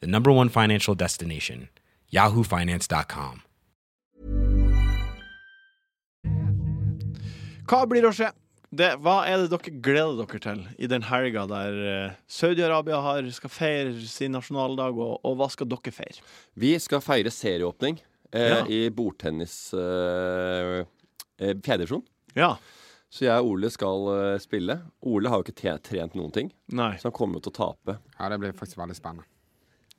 [SPEAKER 6] the number one financial destination, yahoofinance.com.
[SPEAKER 2] Hva blir å skje? Det, hva er det dere gleder dere til i den helga der eh, Saudi-Arabia har- skal feire sin nasjonaldag, og, og hva skal dere feire?
[SPEAKER 3] Vi skal feire serieåpning eh,
[SPEAKER 2] Ja.
[SPEAKER 3] i bordtennis eh, eh, fjerdedivisjon.
[SPEAKER 2] Ja.
[SPEAKER 3] Så jeg og Ole skal eh, spille. Ole har jo ikke te- trent noen ting,
[SPEAKER 2] Nei.
[SPEAKER 3] så han kommer jo til å tape.
[SPEAKER 4] Ja, det blir faktisk veldig spennende.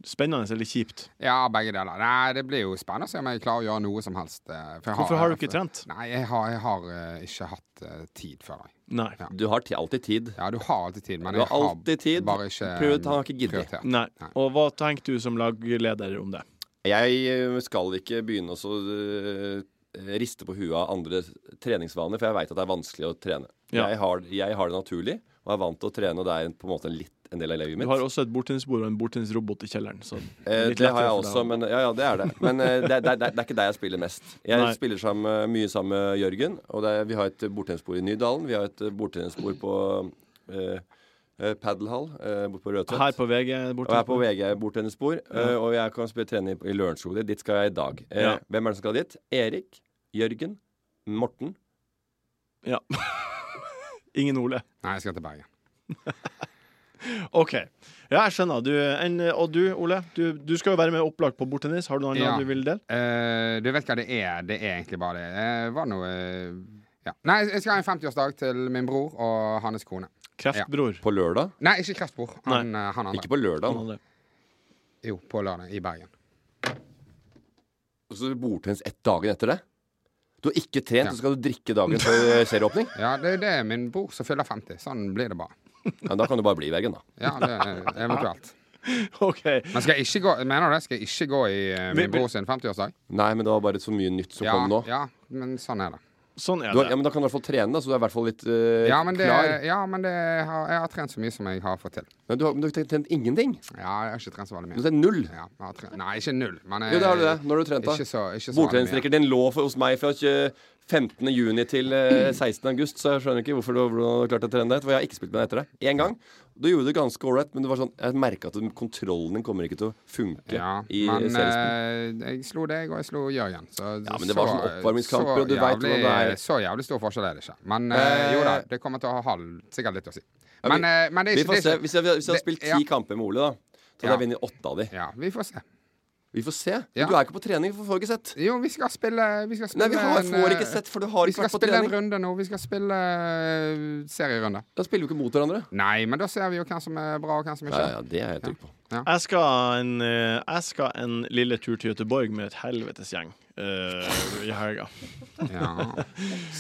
[SPEAKER 2] Spennende eller kjipt?
[SPEAKER 4] Ja, begge deler. Nei, det blir jo spennende å se om jeg klarer å gjøre noe som helst. eh, for jeg
[SPEAKER 2] Hvorfor har du ikke trent?
[SPEAKER 4] Nei, jeg har, jeg har eh, ikke hatt eh, tid før. Jeg.
[SPEAKER 2] Nei.
[SPEAKER 4] Ja.
[SPEAKER 3] Du har ti- alltid tid.
[SPEAKER 4] Ja, du har alltid tid, men
[SPEAKER 3] Du
[SPEAKER 4] jeg
[SPEAKER 3] har alltid tid.
[SPEAKER 4] bare ikke
[SPEAKER 3] Prioritert- han har ikke giddet.
[SPEAKER 4] prioritert.
[SPEAKER 2] Nei.
[SPEAKER 4] Nei.
[SPEAKER 2] Og hva tenker du som lagleder om det?
[SPEAKER 3] Jeg eh, skal ikke begynne å så, eh, riste på huet av andre treningsvaner, for jeg veit at det er vanskelig å trene.
[SPEAKER 2] Ja.
[SPEAKER 3] Jeg, har, jeg har det naturlig, og er vant til å trene, og det er en- på en måte en litt en del av livet
[SPEAKER 2] Du
[SPEAKER 3] mitt.
[SPEAKER 2] har også et bordtennisbord og en bordtennisrobot i kjelleren. Så
[SPEAKER 3] Eh,
[SPEAKER 2] litt
[SPEAKER 3] det har
[SPEAKER 2] lettere
[SPEAKER 3] jeg
[SPEAKER 2] for deg
[SPEAKER 3] også,
[SPEAKER 2] å-
[SPEAKER 3] men ja, ja, det er det. Men eh, det, er- det, er- det er ikke der jeg spiller mest. Jeg
[SPEAKER 2] Nei.
[SPEAKER 3] spiller sammen, mye sammen med Jørgen. Og det er, vi har et bordtennisbord i Nydalen. Vi har et bordtennisbord på eh, eh, Padelhall eh, borte på Rødtvet.
[SPEAKER 2] Her på VG
[SPEAKER 3] og jeg er på
[SPEAKER 2] bordtennisbord.
[SPEAKER 3] VG bordtennisbord. eh, og jeg kan spille trening i Lørenskog. Dit skal jeg i dag. Eh,
[SPEAKER 2] Ja.
[SPEAKER 3] Hvem er det som skal dit? Erik, Jørgen, Morten.
[SPEAKER 2] Ja. Ingen Ole.
[SPEAKER 4] Nei, jeg skal til Bergen.
[SPEAKER 2] OK. Ja, jeg skjønner. Du, en, og du, Ole? Du, du skal jo være med opplagt på bordtennis. Har du noe annet
[SPEAKER 4] Ja.
[SPEAKER 2] du vil dele?
[SPEAKER 4] Eh, du vet hva det er? Det er egentlig bare det. Eh, var noe eh, ja. Nei, jeg skal ha en 50-årsdag til min bror og hans kone.
[SPEAKER 2] Kreftbror.
[SPEAKER 3] På lørdag?
[SPEAKER 4] Nei, ikke kreftbror. Han, eh, han andre.
[SPEAKER 3] Ikke på lørdag.
[SPEAKER 2] Ja.
[SPEAKER 4] Jo, på lørdag i Bergen.
[SPEAKER 3] Og så bordtennis ett dagen etter det. Du har ikke trent,
[SPEAKER 4] Ja.
[SPEAKER 3] og så skal du drikke dagen før eh, serieåpning?
[SPEAKER 4] Ja, det, det er min bror som fyller 50. Sånn blir det bare.
[SPEAKER 3] Ja, da kan du bare bli i veggen, da.
[SPEAKER 4] Ja, det er eventuelt.
[SPEAKER 2] OK.
[SPEAKER 4] Men skal jeg ikke gå, mener du det? Skal jeg ikke gå i eh,
[SPEAKER 2] Men-
[SPEAKER 4] min bror sin 50-årsdag?
[SPEAKER 3] Nei, men det var bare så mye nytt som
[SPEAKER 4] Ja,
[SPEAKER 3] kom nå.
[SPEAKER 4] ja, men sånn er det.
[SPEAKER 2] Sånn er
[SPEAKER 3] Du har, ja,
[SPEAKER 2] det.
[SPEAKER 3] men Da kan du i hvert fall trene, da, så du er i hvert fall litt eh,
[SPEAKER 4] Ja, men, det,
[SPEAKER 3] klar.
[SPEAKER 4] ja, men det har, jeg har trent så mye som jeg har fått til.
[SPEAKER 3] Men du har, men du har ikke trent ingenting.
[SPEAKER 4] Ja, jeg har ikke trent så veldig mye.
[SPEAKER 3] Du har trent null.
[SPEAKER 4] Ja, jeg har trent, nei, ikke null, men eh,
[SPEAKER 3] Jo, det har du det. Når har du trent, da?
[SPEAKER 4] Ikke så- ikke så
[SPEAKER 3] Bordtennisrekken din lå for, hos meg fra 20 15. juni til eh, 16. august, så jeg skjønner ikke hvorfor du, hvordan du har klart å trene deg. For jeg har ikke spilt med deg etter det. Én gang. Du gjorde det ganske ålreit, men det var sånn, jeg merka at den kontrollen din kommer ikke til å funke
[SPEAKER 4] Ja,
[SPEAKER 3] i eh,
[SPEAKER 4] men
[SPEAKER 3] seriespill.
[SPEAKER 4] eh, jeg slo deg, og jeg slo Jørgen. Så,
[SPEAKER 3] Ja, men det var
[SPEAKER 4] så-
[SPEAKER 3] sånn oppvarmingskamper, og du
[SPEAKER 4] så
[SPEAKER 3] vet hvordan det er.
[SPEAKER 4] Så jævlig stor forskjell er det ikke. Men eh, jo da, det kommer til å ha halv, sikkert litt å si. Men, eh, men det er
[SPEAKER 3] Vi
[SPEAKER 4] ikke
[SPEAKER 3] får
[SPEAKER 4] det
[SPEAKER 3] se.
[SPEAKER 4] er ikke-
[SPEAKER 3] Hvis jeg, hvis jeg har
[SPEAKER 4] det-
[SPEAKER 3] spilt ti
[SPEAKER 4] ja.
[SPEAKER 3] kamper med Ole, da, så hadde
[SPEAKER 4] Ja.
[SPEAKER 3] jeg vunnet åtte av de.
[SPEAKER 4] Ja, vi får se.
[SPEAKER 3] Vi får se.
[SPEAKER 4] Ja.
[SPEAKER 3] Du er ikke på trening, for vi får ikke sett.
[SPEAKER 4] Jo, vi skal spille, vi skal spille
[SPEAKER 3] Nei, vi har,
[SPEAKER 4] en,
[SPEAKER 3] får
[SPEAKER 4] eh,
[SPEAKER 3] ikke sett, for du har
[SPEAKER 4] Vi
[SPEAKER 3] ikke
[SPEAKER 4] skal
[SPEAKER 3] vært på
[SPEAKER 4] spille en
[SPEAKER 3] trening.
[SPEAKER 4] runde nå. Vi skal spille eh, serierunde.
[SPEAKER 3] Da spiller vi ikke mot hverandre.
[SPEAKER 4] Nei, men da ser vi jo hvem som er bra, og hvem som ikke
[SPEAKER 3] Ja,
[SPEAKER 4] er
[SPEAKER 3] ja, det er jeg trygg på.
[SPEAKER 2] Jeg skal, en, eh, jeg skal en lille tur til Göteborg med et helvetes gjeng eh, i helga.
[SPEAKER 4] Ja.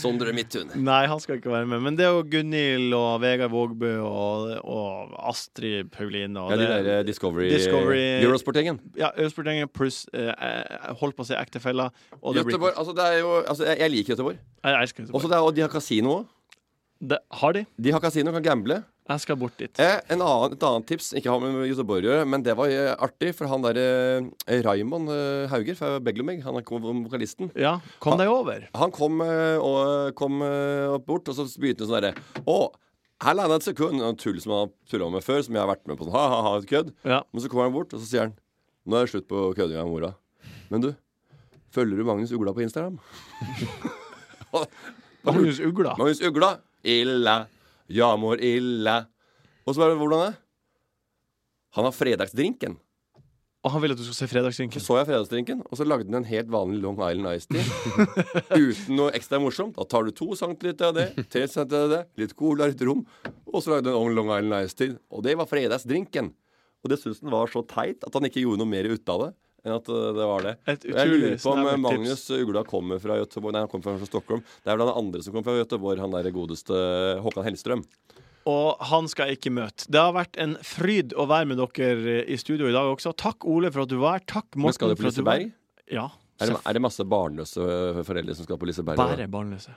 [SPEAKER 3] Sondre Midthun.
[SPEAKER 2] Nei, han skal ikke være med. Men det er jo Gunhild og Vegard Vågbø og, og Astrid Pauline og
[SPEAKER 3] Ja, de
[SPEAKER 2] det-
[SPEAKER 3] der eh, Discovery, eh,
[SPEAKER 2] Discovery-
[SPEAKER 3] Eurosportingen.
[SPEAKER 2] Ja, Østbertgjengen pluss eh, eh, Holdt på å si ektefeller. Og det blir
[SPEAKER 3] Göteborg, altså det er jo altså jeg, jeg liker Göteborg.
[SPEAKER 2] Jeg elsker
[SPEAKER 3] Også
[SPEAKER 2] Göteborg.
[SPEAKER 3] det er, og de har kasino òg.
[SPEAKER 2] Det, har de?
[SPEAKER 3] De har kasino, kan gamble.
[SPEAKER 2] Jeg skal bort dit.
[SPEAKER 3] Eh, en annen, et annet tips, ikke har med Göteborg å gjøre, men det var eh, artig, for han derre eh, Raymond eh, Hauger fra Beglomeg, han er kom- vokalisten.
[SPEAKER 2] Ja, kom deg over.
[SPEAKER 3] Han kom, eh, og, kom eh, opp bort, og så begynte han sånn derre Å, her landa et sekund! Og Tull som han har tulla med før, som jeg har vært med på sånn ha-ha-ha, kødd.
[SPEAKER 2] Ja.
[SPEAKER 3] Men så kommer han bort, og så sier han Nå er det slutt på kødinga med mora. Men du, følger du Magnus Ugla på Instagram?
[SPEAKER 2] Magnus Ugla?
[SPEAKER 3] Magnus Ugla. Illa. Jamor illa. Og så bare, hvordan er det? Han har fredagsdrinken.
[SPEAKER 2] Og han ville at du skulle se Fredagsdrinken?
[SPEAKER 3] Så så jeg Fredagsdrinken, og så lagde han en helt vanlig Long Island Ice Tea. Uten noe ekstra morsomt. Da tar du to centiliter av det, tre centiliter av det, litt cola, litt rom. Og så lagde han en Long Island Ice Tea. Og det var fredagsdrinken. Og det syntes han var så teit at han ikke gjorde noe mer ut av det. Enn at eh, det var det.
[SPEAKER 2] Et
[SPEAKER 3] Og jeg lurer
[SPEAKER 2] utrolig
[SPEAKER 3] på om eh,
[SPEAKER 2] snevert
[SPEAKER 3] Magnus Ugla kommer fra Göteborg. Nei, han kommer fra Stockholm. Det er vel han andre som kommer fra Göteborg, han der godeste eh, Håkan Hellstrøm.
[SPEAKER 2] Og han skal jeg ikke møte. Det har vært en fryd å være med dere eh, i studio i dag også. Takk, Ole, for at du var her. Takk, Morten.
[SPEAKER 3] Men skal du
[SPEAKER 2] for
[SPEAKER 3] på
[SPEAKER 2] at var her.
[SPEAKER 3] Liseberg?
[SPEAKER 2] Ja.
[SPEAKER 3] Er det, er det masse barnløse eh, foreldre som skal på Liseberg?
[SPEAKER 2] Bare barnløse.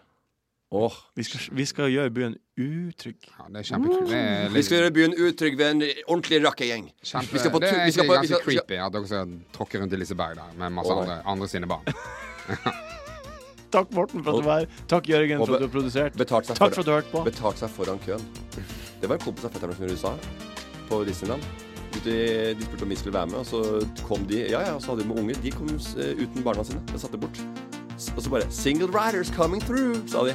[SPEAKER 3] Åh.
[SPEAKER 2] Vi, skal, vi skal gjøre byen utrygg.
[SPEAKER 4] Ja, det er kjempekult. Det er litt-
[SPEAKER 3] Vi skal gjøre byen utrygg ved en ordentlig rockegjeng.
[SPEAKER 4] Kjempe,
[SPEAKER 3] Vi skal på
[SPEAKER 4] det
[SPEAKER 3] tur
[SPEAKER 4] er
[SPEAKER 3] vi skal
[SPEAKER 4] egentlig
[SPEAKER 3] på- vi
[SPEAKER 4] ganske
[SPEAKER 3] skal-
[SPEAKER 4] creepy at dere skal tråkke rundt i Liseberg der med masse
[SPEAKER 3] Å, nei.
[SPEAKER 4] andre, andre sine barn.
[SPEAKER 2] Takk, Morten, for at du var her. Takk, Jørgen,
[SPEAKER 3] Og
[SPEAKER 2] for
[SPEAKER 3] be-
[SPEAKER 2] at du har produsert.
[SPEAKER 3] Betalt seg
[SPEAKER 2] Takk
[SPEAKER 3] foran-
[SPEAKER 2] for at du hørte på.
[SPEAKER 3] Betalt seg foran køen. Det var en kompis av fetteren min som gjorde i USA, på Disneyland. De, de spurte om vi skulle være med, og så kom de Ja, ja, og så hadde de med unger. De kom eh, uten barna sine. De satte bort. S- Og så bare 'Single riders coming through', sa de.